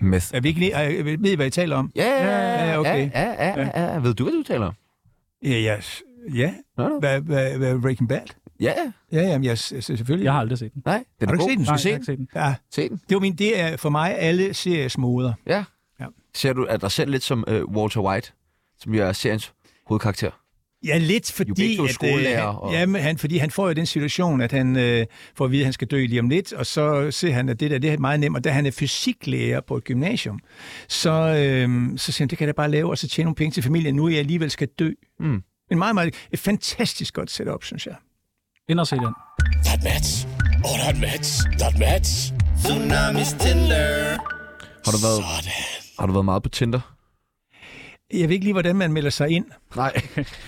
Speaker 1: Meth.
Speaker 3: Er vi ikke lige, er, ved I, hvad I taler om?
Speaker 1: Ja,
Speaker 3: Ja,
Speaker 1: ja,
Speaker 3: okay.
Speaker 1: ja, ja, ja, ja. Ved du, hvad du taler om?
Speaker 3: Ja, jeg, Ja,
Speaker 1: Nå, nå.
Speaker 3: hvad, hvad, hvad Breaking Bad?
Speaker 1: Ja, ja.
Speaker 3: Ja, jamen, jeg, jeg, selvfølgelig.
Speaker 2: Jeg har aldrig set den.
Speaker 1: Nej, den
Speaker 3: Har
Speaker 1: er
Speaker 3: du ikke
Speaker 1: god.
Speaker 3: set den?
Speaker 1: Skal
Speaker 2: Nej,
Speaker 1: vi
Speaker 2: jeg
Speaker 1: se
Speaker 2: har
Speaker 1: den? Se
Speaker 2: ikke set den.
Speaker 3: Ja,
Speaker 1: den.
Speaker 3: det var min, det er for mig alle series moder.
Speaker 1: Ja.
Speaker 3: Ja.
Speaker 1: Ser du, at der selv lidt som øh, Walter White, som jo er seriens hovedkarakter?
Speaker 3: Ja, lidt
Speaker 1: jo
Speaker 3: fordi,
Speaker 1: begge to
Speaker 3: at,
Speaker 1: skolelærer
Speaker 3: han,
Speaker 1: og-
Speaker 3: jamen, han, fordi han får jo den situation, at han øh, får at vide, at han skal dø lige om lidt, og så ser han, at det der det er meget nemt, og da han er fysiklærer på et gymnasium, så, øh, så siger han, det kan jeg da bare lave, og så tjene nogle penge til familien, nu jeg alligevel skal dø.
Speaker 1: Mm.
Speaker 3: En meget, meget, et fantastisk godt setup, synes jeg.
Speaker 2: Ind og se den.
Speaker 7: That match. Oh, that match. That match.
Speaker 4: Tsunamis Tinder.
Speaker 1: Har du været, har du været meget på Tinder?
Speaker 3: Jeg ved ikke lige, hvordan man melder sig ind.
Speaker 1: Nej,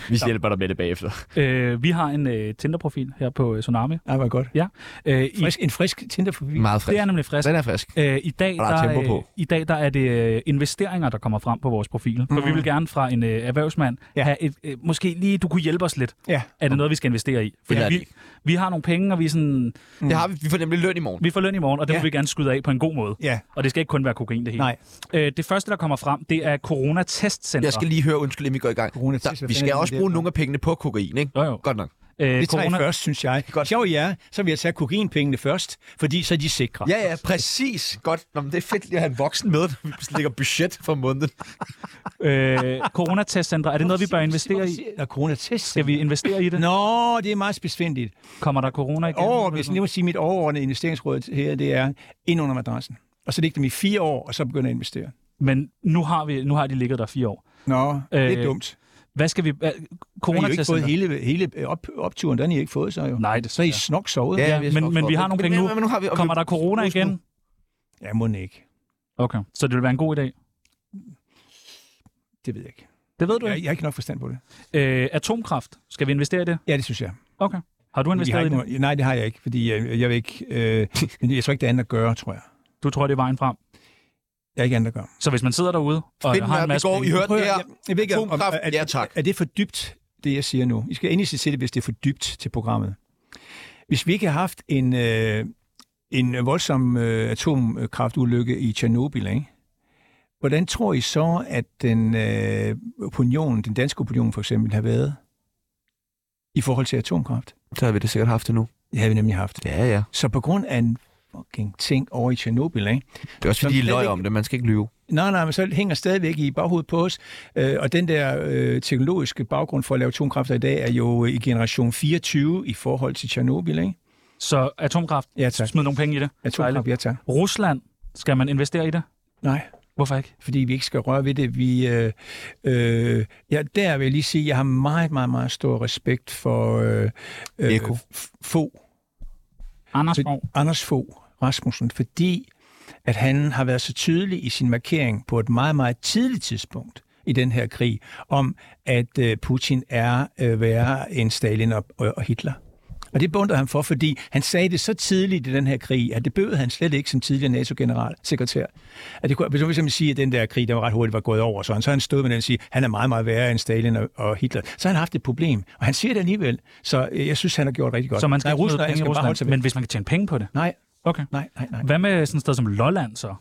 Speaker 1: vi hjælper dig med det bagefter.
Speaker 2: Øh, vi har en øh, Tinder-profil her på øh, Tsunami.
Speaker 3: Ej, hvor godt.
Speaker 2: Ja. Øh, i,
Speaker 3: Frisk, en frisk tinder forbi.
Speaker 1: Meget frisk.
Speaker 2: det er nemlig frisk.
Speaker 1: Den er frisk.
Speaker 2: Øh, I dag,
Speaker 1: Og der er
Speaker 2: der,
Speaker 1: tempo på.
Speaker 2: øh, I dag der er det øh, investeringer, der kommer frem på vores profil. For
Speaker 1: Mm.
Speaker 2: vi vil gerne fra en øh, erhvervsmand
Speaker 3: Ja.
Speaker 2: ja. have et, øh, måske lige, du kunne hjælpe os lidt.
Speaker 3: Ja.
Speaker 2: Er det noget, vi skal investere i? Fordi
Speaker 1: Eller er det
Speaker 2: vi, vi har nogle penge, og vi, er sådan,
Speaker 1: Det har vi. Vi får nemlig Mm. løn i morgen.
Speaker 2: vi får løn i morgen, og det
Speaker 3: Ja.
Speaker 2: ja. vil vi gerne skyde af på en god måde.
Speaker 3: Ja.
Speaker 2: Og det skal ikke kun være kokain, det hele.
Speaker 3: Nej.
Speaker 2: Øh, det første, der kommer frem, det er coronatestcenter.
Speaker 1: Jeg skal lige høre, undskyld, inden vi går i gang.
Speaker 3: Corona-
Speaker 1: Der, vi skal også bruge nogle af pengene på kokain, ikke?
Speaker 2: Jo, jo.
Speaker 1: Godt nok.
Speaker 2: øh,
Speaker 3: Det tager jeg først, synes jeg. Godt. Sjov ja, så vil jeg tage kokainpengene først, fordi så er de sikre.
Speaker 1: Ja, ja, præcis. Godt. Nå, men det er fedt lige at have en voksen med, når vi lægger budget for måneden.
Speaker 2: øh, coronatestcenter, er det noget, vi bør investere i?
Speaker 3: Der er coronatest.
Speaker 2: Skal vi investere i det?
Speaker 3: Nå, det er meget spidsfindigt.
Speaker 2: Kommer der corona igen?
Speaker 3: Over, hvis jeg lige må sige, mit overordnede investeringsråd her, det er ind under madrassen. Og så ligge dem i fire år, og så begynde at investere.
Speaker 2: Men nu har, vi, nu har de ligget der fire år.
Speaker 3: Nå, øh, det er
Speaker 2: Øh,
Speaker 3: dumt.
Speaker 2: Hvad skal vi... Øh,
Speaker 3: Men I har jo ikke fået
Speaker 2: coronatestcenter?
Speaker 3: hele, hele op, opturen, den har I ikke fået så jo.
Speaker 2: Nej, det
Speaker 3: Så er I snok sovet.
Speaker 1: Ja,
Speaker 2: Ja,
Speaker 1: vi
Speaker 2: ja
Speaker 1: er
Speaker 2: men,
Speaker 1: snart
Speaker 2: men vi
Speaker 1: stoppet.
Speaker 2: har
Speaker 1: Men-
Speaker 2: nogle penge nu.
Speaker 1: men- men nu har vi- og vi-
Speaker 2: Kommer der corona
Speaker 1: husk nu.
Speaker 2: igen?
Speaker 3: ja må den ikke.
Speaker 2: Okay, så det vil være en god idé.
Speaker 3: Det ved jeg ikke.
Speaker 2: Det ved du
Speaker 3: Jeg,
Speaker 2: ikke.
Speaker 3: jeg har ikke nok forstand på det.
Speaker 2: Øh, atomkraft. Skal vi investere i det?
Speaker 3: Ja, det synes jeg.
Speaker 2: Okay. Har du
Speaker 3: Men jeg
Speaker 2: investeret
Speaker 3: har
Speaker 2: i
Speaker 3: ikke
Speaker 2: det?
Speaker 3: nogen, nej, det har jeg ikke, fordi jeg, jeg vil ikke... Øh, men jeg tror ikke, der er andet at gøre, tror jeg.
Speaker 2: Du tror, det er vejen frem.
Speaker 3: Jeg er ikke andet at gøre.
Speaker 2: Så hvis man sidder derude og
Speaker 1: Find
Speaker 2: har
Speaker 1: her,
Speaker 2: en
Speaker 1: vi
Speaker 2: masse
Speaker 1: går. I
Speaker 2: penge-
Speaker 1: hørte det
Speaker 3: at-
Speaker 1: her.
Speaker 3: jeg, jeg ved ikke, om, om,
Speaker 1: Atomkraft.
Speaker 3: er,
Speaker 1: Ja, tak.
Speaker 3: Er, er det for dybt, det jeg siger nu? I skal endelig sige det, hvis det er for dybt til programmet. Hvis vi ikke har haft en, øh, en voldsom øh, atomkraftulykke i Tjernobyl, ikke? hvordan tror I så, at den øh, opinion, den danske opinion for eksempel, har været i forhold til atomkraft?
Speaker 1: Så har vi det sikkert haft det nu.
Speaker 3: Det har vi nemlig haft.
Speaker 1: Ja, ja.
Speaker 3: Så på grund af en fucking ting over i Tjernobyl, ikke?
Speaker 1: Det er også fordi,
Speaker 3: Som
Speaker 1: de løg
Speaker 3: slet
Speaker 1: om det. Man skal ikke lyve.
Speaker 3: Nej, nej, men så hænger stadigvæk i baghovedet på os. Øh, og den der øh, teknologiske baggrund for at lave atomkræfter i dag er jo øh, i generation 24 i forhold til Tjernobyl, ikke?
Speaker 2: Så atomkraft.
Speaker 3: Ja, tak.
Speaker 2: Smid nogle penge i det.
Speaker 3: Atomkraft, ja tak.
Speaker 2: Rusland. Skal man investere i det?
Speaker 3: Nej,
Speaker 2: Hvorfor ikke?
Speaker 3: fordi vi ikke skal røre ved det. Vi, øh, øh, ja, der vil jeg lige sige, at jeg har meget, meget, meget stor respekt for øh, øh,
Speaker 1: Eko.
Speaker 3: F- Fogh.
Speaker 2: Anders
Speaker 3: For-
Speaker 2: Fogh.
Speaker 3: Anders Fogh Rasmussen, fordi at han har været så tydelig i sin markering på et meget, meget tidligt tidspunkt i den her krig, om at øh, Putin er øh, værre end Stalin og, og, og Hitler. Og det bunder han for, fordi han sagde det så tidligt i den her krig, at det bød han slet ikke som tidligere NATO-generalsekretær. At det kunne, hvis man for eksempel sige, at den der krig, der var ret hurtigt var gået over, så han, så han stod med den og sige, at han er meget, meget værre end Stalin og, og Hitler. Så har han haft et problem, og han siger det alligevel. Så øh, jeg synes, han har gjort rigtig godt.
Speaker 2: Så man skal
Speaker 3: Nej,
Speaker 2: ikke smide
Speaker 3: Rusland, han
Speaker 2: penge i
Speaker 3: skal bare holde
Speaker 2: Rusland.
Speaker 3: sig
Speaker 2: Men
Speaker 3: væk.
Speaker 2: hvis man kan tjene penge på det.
Speaker 3: Nej,
Speaker 2: Okay.
Speaker 3: Nej, nej, nej.
Speaker 2: Hvad med sådan et sted som Lolland så?
Speaker 3: Øh,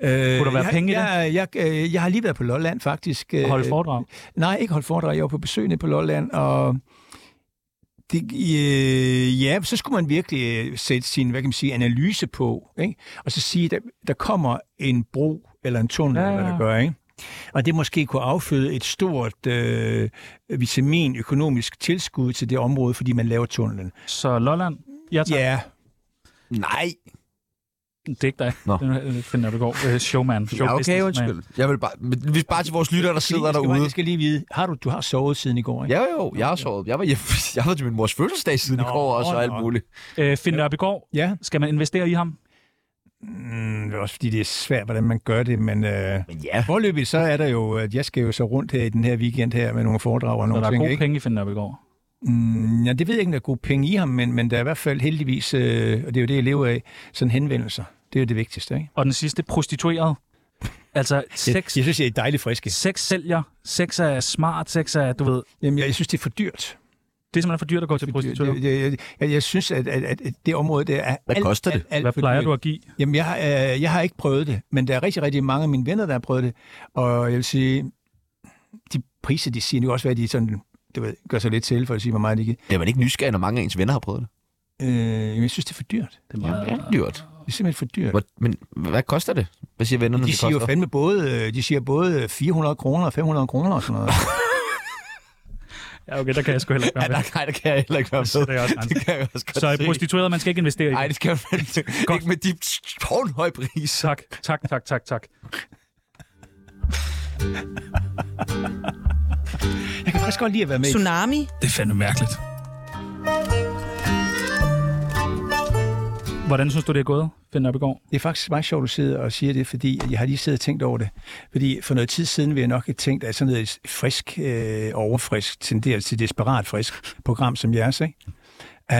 Speaker 2: Kunne der være
Speaker 3: jeg,
Speaker 2: penge i det?
Speaker 3: jeg, jeg, øh, jeg har lige været på Lolland, faktisk. øh,
Speaker 2: Og holde foredrag?
Speaker 3: Nej, ikke holdt foredrag. Jeg var på besøg nede på Lolland, og... Det, øh, ja, så skulle man virkelig øh, sætte sin, hvad kan man sige, analyse på, ikke? Og så sige, der, der kommer en bro eller en tunnel,
Speaker 2: Ja,
Speaker 3: ja,
Speaker 2: ja,
Speaker 3: ja. hvad
Speaker 2: ja.
Speaker 3: der gør, ikke? Og det måske kunne afføde et stort øh, vitaminøkonomisk tilskud til det område, fordi man laver tunnelen.
Speaker 2: Så Lolland. Ja, tak.
Speaker 3: Ja,
Speaker 1: Nej.
Speaker 2: Det er ikke dig.
Speaker 1: Nå.
Speaker 2: Det finder du går. Øh, Showman. Show
Speaker 1: Ja, okay,
Speaker 2: businessman.
Speaker 1: undskyld. Jeg vil bare, men hvis bare til vores lytter, der sidder
Speaker 3: jeg skal, bare-
Speaker 1: derude.
Speaker 3: jeg skal lige vide, har du, du har sovet siden i går, ikke?
Speaker 1: Ja, jo, jeg har sovet. Jeg var, jeg, jeg var til min mors fødselsdag siden i
Speaker 3: Nå,
Speaker 1: går også, og alt
Speaker 3: nå.
Speaker 1: muligt.
Speaker 2: Øh, Finn Nørbegaard.
Speaker 3: ja.
Speaker 2: Skal man investere i ham?
Speaker 3: Mm, det er også fordi, det er svært, hvordan man gør det, men øh,
Speaker 1: Men ja,
Speaker 3: forløbig så er der jo, at jeg skal jo så rundt her i den her weekend her med nogle foredrag og
Speaker 2: Så der
Speaker 3: nogle
Speaker 2: er
Speaker 3: ting,
Speaker 2: gode
Speaker 3: ikke?
Speaker 2: penge i Finn Nørbegaard.
Speaker 3: Mm, ja, det ved jeg ikke, om der er gode penge i ham, men, men der er i hvert fald heldigvis, øh, og det er jo det, jeg lever af, sådan henvendelser. Det er jo det vigtigste, ikke?
Speaker 2: Og den sidste, prostitueret. Altså, sex,
Speaker 3: Jeg, jeg synes, jeg er dejligt friske.
Speaker 2: sex sælger, sex er smart, sex er, du ved,
Speaker 3: Jamen, jeg, jeg synes, det er for dyrt.
Speaker 2: det er simpelthen for dyrt at gå til
Speaker 3: Jeg,
Speaker 2: prostitueret.
Speaker 3: jeg, jeg, jeg synes, at, at, at det område der er
Speaker 1: Hvad
Speaker 3: alt,
Speaker 1: koster det?
Speaker 3: Alt, alt
Speaker 2: Hvad
Speaker 3: for
Speaker 2: plejer
Speaker 3: dyrt.
Speaker 2: du at give?
Speaker 3: Jamen, jeg, har, øh, jeg har ikke prøvet det, men der er rigtig, rigtig mange af mine venner, der har prøvet det. Og jeg vil sige, de priser, de siger, det kan også være, at de er sådan du ved, gør sig lidt til for at sige, hvor meget de giver.
Speaker 1: Det er man ikke nysgerrig, når mange af ens venner har prøvet det.
Speaker 3: Øh, jeg synes, det er for dyrt. Det er, meget,
Speaker 1: Det er dyrt.
Speaker 3: det er simpelthen for dyrt.
Speaker 1: Hvor, men hvad koster det? Hvad siger vennerne,
Speaker 3: De
Speaker 1: det
Speaker 3: siger jo
Speaker 1: koster?
Speaker 3: fandme både, øh, de siger både 400 kroner og 500 kroner og sådan noget.
Speaker 2: Ja, okay, der kan jeg sgu heller ikke
Speaker 1: Ja,
Speaker 2: være med.
Speaker 1: der, nej, der kan jeg heller ikke være
Speaker 2: sætter jeg også
Speaker 1: med.
Speaker 2: grænsen.
Speaker 1: Det kan jeg også godt
Speaker 2: Så
Speaker 1: se.
Speaker 2: prostitueret, man skal ikke investere i
Speaker 1: Nej,
Speaker 2: det.
Speaker 1: det skal jeg fandme ikke.
Speaker 2: Godt.
Speaker 1: Ikke med de tårnhøje priser.
Speaker 2: Tak, tak, tak, tak, tak.
Speaker 3: Jeg kan faktisk godt lide at være med. i-
Speaker 6: Tsunami.
Speaker 2: Det er fandme mærkeligt. Hvordan synes du, det er gået, Finn Nørbegaard?
Speaker 3: Det er faktisk meget sjovt, at du sidder og siger det, fordi jeg har lige siddet og tænkt over det. Fordi for noget tid siden ville jeg nok have tænkt, at sådan noget frisk, øh, overfrisk, tenderer til desperat frisk program som jeres, ikke? Uh,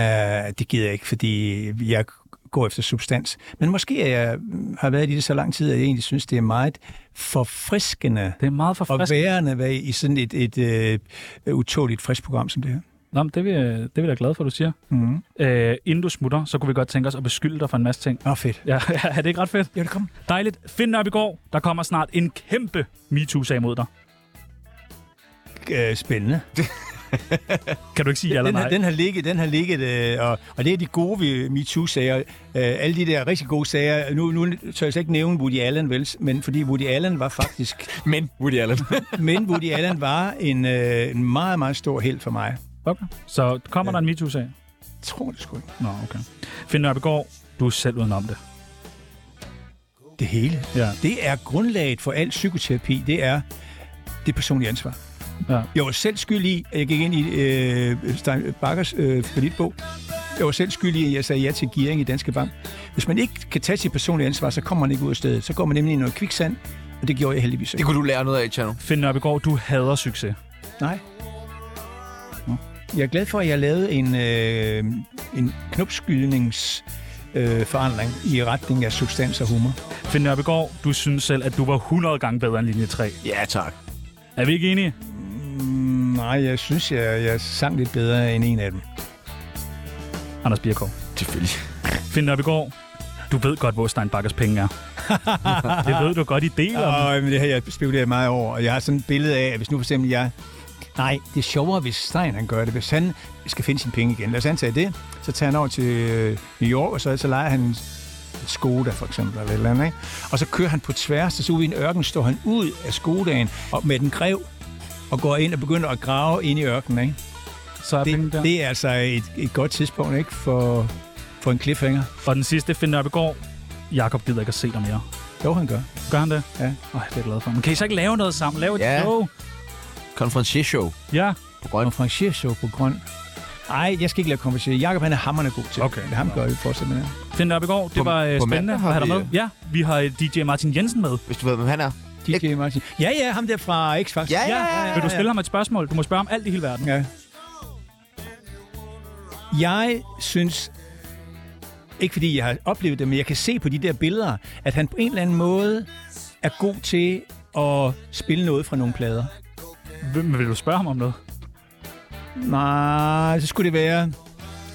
Speaker 3: det gider jeg ikke, fordi jeg går efter substans. Men måske er jeg, mm, har været i det så lang tid, at jeg egentlig synes, det er meget forfriskende
Speaker 2: Det er meget
Speaker 3: og
Speaker 2: forfriskende.
Speaker 3: værende at være i sådan et, et øh, utåligt frisk program som det her.
Speaker 2: Nå, men det, vil, jeg- det vil jeg da glad for, du siger.
Speaker 3: Mm.
Speaker 2: Øh, inden du smutter, så kunne vi godt tænke os at beskylde dig for en masse ting.
Speaker 3: Åh, oh, fedt.
Speaker 2: Ja, er det ikke ret fedt?
Speaker 3: Jo, det kom.
Speaker 2: Dejligt. Finn Nørbegaard, der kommer snart en kæmpe MeToo-sag mod dig.
Speaker 3: Øh, spændende.
Speaker 2: Kan du ikke sige ja eller
Speaker 3: den,
Speaker 2: nej?
Speaker 3: har, den har ligget, den har ligget øh, og, og det er de gode ved MeToo-sager. Øh, alle de der rigtig gode sager. Nu, nu tør jeg slet ikke nævne Woody Allen, vel, men fordi Woody Allen var faktisk...
Speaker 1: Men Woody Allen.
Speaker 3: men Woody Allen var en, øh, en meget, meget stor held for mig.
Speaker 2: Okay. Så kommer der en MeToo-sag?
Speaker 3: Jeg tror det sgu ikke.
Speaker 2: Nå, okay. Finn Nørbegaard, du er selv udenom det.
Speaker 3: Det hele.
Speaker 2: Ja.
Speaker 3: Det er grundlaget for al psykoterapi. Det er det personlige ansvar.
Speaker 2: Ja.
Speaker 3: Jeg var selv skyld i, at jeg gik ind i øh, Stein Bakkers øh, kreditbog. Jeg var selv skyld i, at jeg sagde ja til gearing i Danske Bank. Hvis man ikke kan tage sit personlige ansvar, så kommer man ikke ud af stedet. Så går man nemlig i noget kviksand, og det gjorde jeg heldigvis
Speaker 1: Det
Speaker 3: ikke.
Speaker 1: kunne du lære noget af, Chano.
Speaker 2: Finn Nørbegaard, du hader succes.
Speaker 3: Nej. Nå. Jeg er glad for, at jeg lavede en, øh, en knopskydnings øh, forandring i retning af substans og humor.
Speaker 2: Finn Nørbegaard, du synes selv, at du var 100 gange bedre end linje 3.
Speaker 1: Ja, tak.
Speaker 2: Er vi ikke enige?
Speaker 3: Mm, nej, jeg synes, jeg, jeg sang lidt bedre end en af dem.
Speaker 2: Anders Birkov.
Speaker 1: Selvfølgelig.
Speaker 2: Finn Nørbegaard, du ved godt, hvor Steinbakkers penge er. det ved du godt, I deler. dem.
Speaker 3: Og, men det har jeg spekuleret meget over, og jeg har sådan et billede af, at hvis nu for eksempel jeg... Nej, det er sjovere, hvis Stein han gør det. Hvis han skal finde sine penge igen, lad os antage det, så tager han over til øh, New York, og så, så leger han en Skoda for eksempel, eller et eller andet, ikke? Og så kører han på tværs, og så ude i en ørken står han ud af Skodaen og med den grev, og går ind og begynder at grave ind i ørkenen, ikke?
Speaker 2: Så er pengene
Speaker 3: Det,
Speaker 2: der.
Speaker 3: det er altså et, et godt tidspunkt, ikke? For, for en cliffhanger.
Speaker 2: Og den sidste, Finn Nørbegaard, Jakob gider ikke at se dig mere.
Speaker 3: Jo, han gør.
Speaker 2: Gør han det?
Speaker 3: Ja.
Speaker 2: Øj, det er jeg glad for. Men kan I så ikke lave noget sammen? Lave et
Speaker 1: Ja.
Speaker 2: show?
Speaker 1: Konferencieshow
Speaker 2: Ja.
Speaker 1: på Grøn.
Speaker 3: Konferencier show på grøn. Ej, jeg skal ikke lade konferencier. Jakob, han er hammerne god til. det.
Speaker 2: Okay.
Speaker 3: Det ham gør vi fortsat med det.
Speaker 2: Finn Nørbegaard, det
Speaker 1: På-
Speaker 2: var øh,
Speaker 1: på
Speaker 2: spændende
Speaker 1: mandag
Speaker 2: at
Speaker 1: har
Speaker 2: have dig
Speaker 1: vi,
Speaker 2: med. Ja, vi har øh, DJ Martin Jensen med.
Speaker 1: Hvis du ved, hvem han er.
Speaker 3: DJ Martin. Ja, ja, ham der fra X Factor.
Speaker 1: Ja, ja,
Speaker 3: ja.
Speaker 2: Vil du stille ham et spørgsmål? Du må spørge om alt i hele verden.
Speaker 3: Ja. Jeg synes, ikke fordi jeg har oplevet det, men jeg kan se på de der billeder, at han på en eller anden måde er god til at spille noget fra nogle plader.
Speaker 2: Hvem vil du spørge ham om noget?
Speaker 3: Nej, så skulle det være...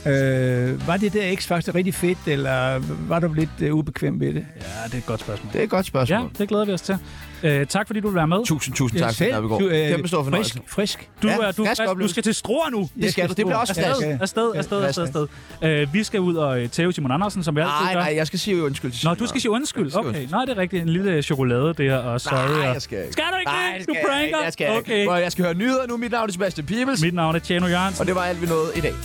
Speaker 3: Øh, var det der X Factor rigtig fedt, eller var du lidt øh, ubekvem ved det?
Speaker 2: Ja, det er et godt spørgsmål.
Speaker 1: Det er et godt
Speaker 2: Ja,
Speaker 1: spørgsmål. Ja.
Speaker 2: det glæder vi os til. Øh, tak fordi du vil være med.
Speaker 1: Tusind, tusind tak,
Speaker 3: Selv,
Speaker 1: for vi går.
Speaker 3: du, øh,
Speaker 1: Kæmpe stor fornøjelse.
Speaker 3: Frisk, frisk.
Speaker 2: Du,
Speaker 1: Ja,
Speaker 2: er, du,
Speaker 1: frisk
Speaker 2: er, du
Speaker 1: oplevelse.
Speaker 2: skal til Struer nu.
Speaker 1: Det skal du. Det bliver også
Speaker 3: Ja,
Speaker 1: fast.
Speaker 3: ja.
Speaker 2: Afsted, afsted,
Speaker 1: Ja,
Speaker 2: afsted, afsted. Øh, vi skal ud og øh, tæve Simon Andersen, som vi altid
Speaker 1: Nej,
Speaker 2: gør.
Speaker 1: nej, jeg skal sige undskyld til
Speaker 2: Nå,
Speaker 1: Simon.
Speaker 2: du skal sige undskyld.
Speaker 1: skal
Speaker 2: Okay,
Speaker 1: undskyld.
Speaker 2: nej, det er rigtigt. En lille øh, chokolade der, og sorry.
Speaker 1: Nej,
Speaker 2: og-
Speaker 1: jeg skal ikke.
Speaker 2: Skal du ikke
Speaker 1: Nej,
Speaker 2: det?
Speaker 1: det
Speaker 2: Du
Speaker 1: skal jeg
Speaker 2: pranker?
Speaker 1: ikke. Jeg skal ikke.
Speaker 2: Okay.
Speaker 1: Prøv, Jeg skal høre nyheder nu. Mit navn er Sebastian Pibels,
Speaker 2: Mit navn er Tjano Jørgensen.
Speaker 1: og det var alt, vi nåede i dag.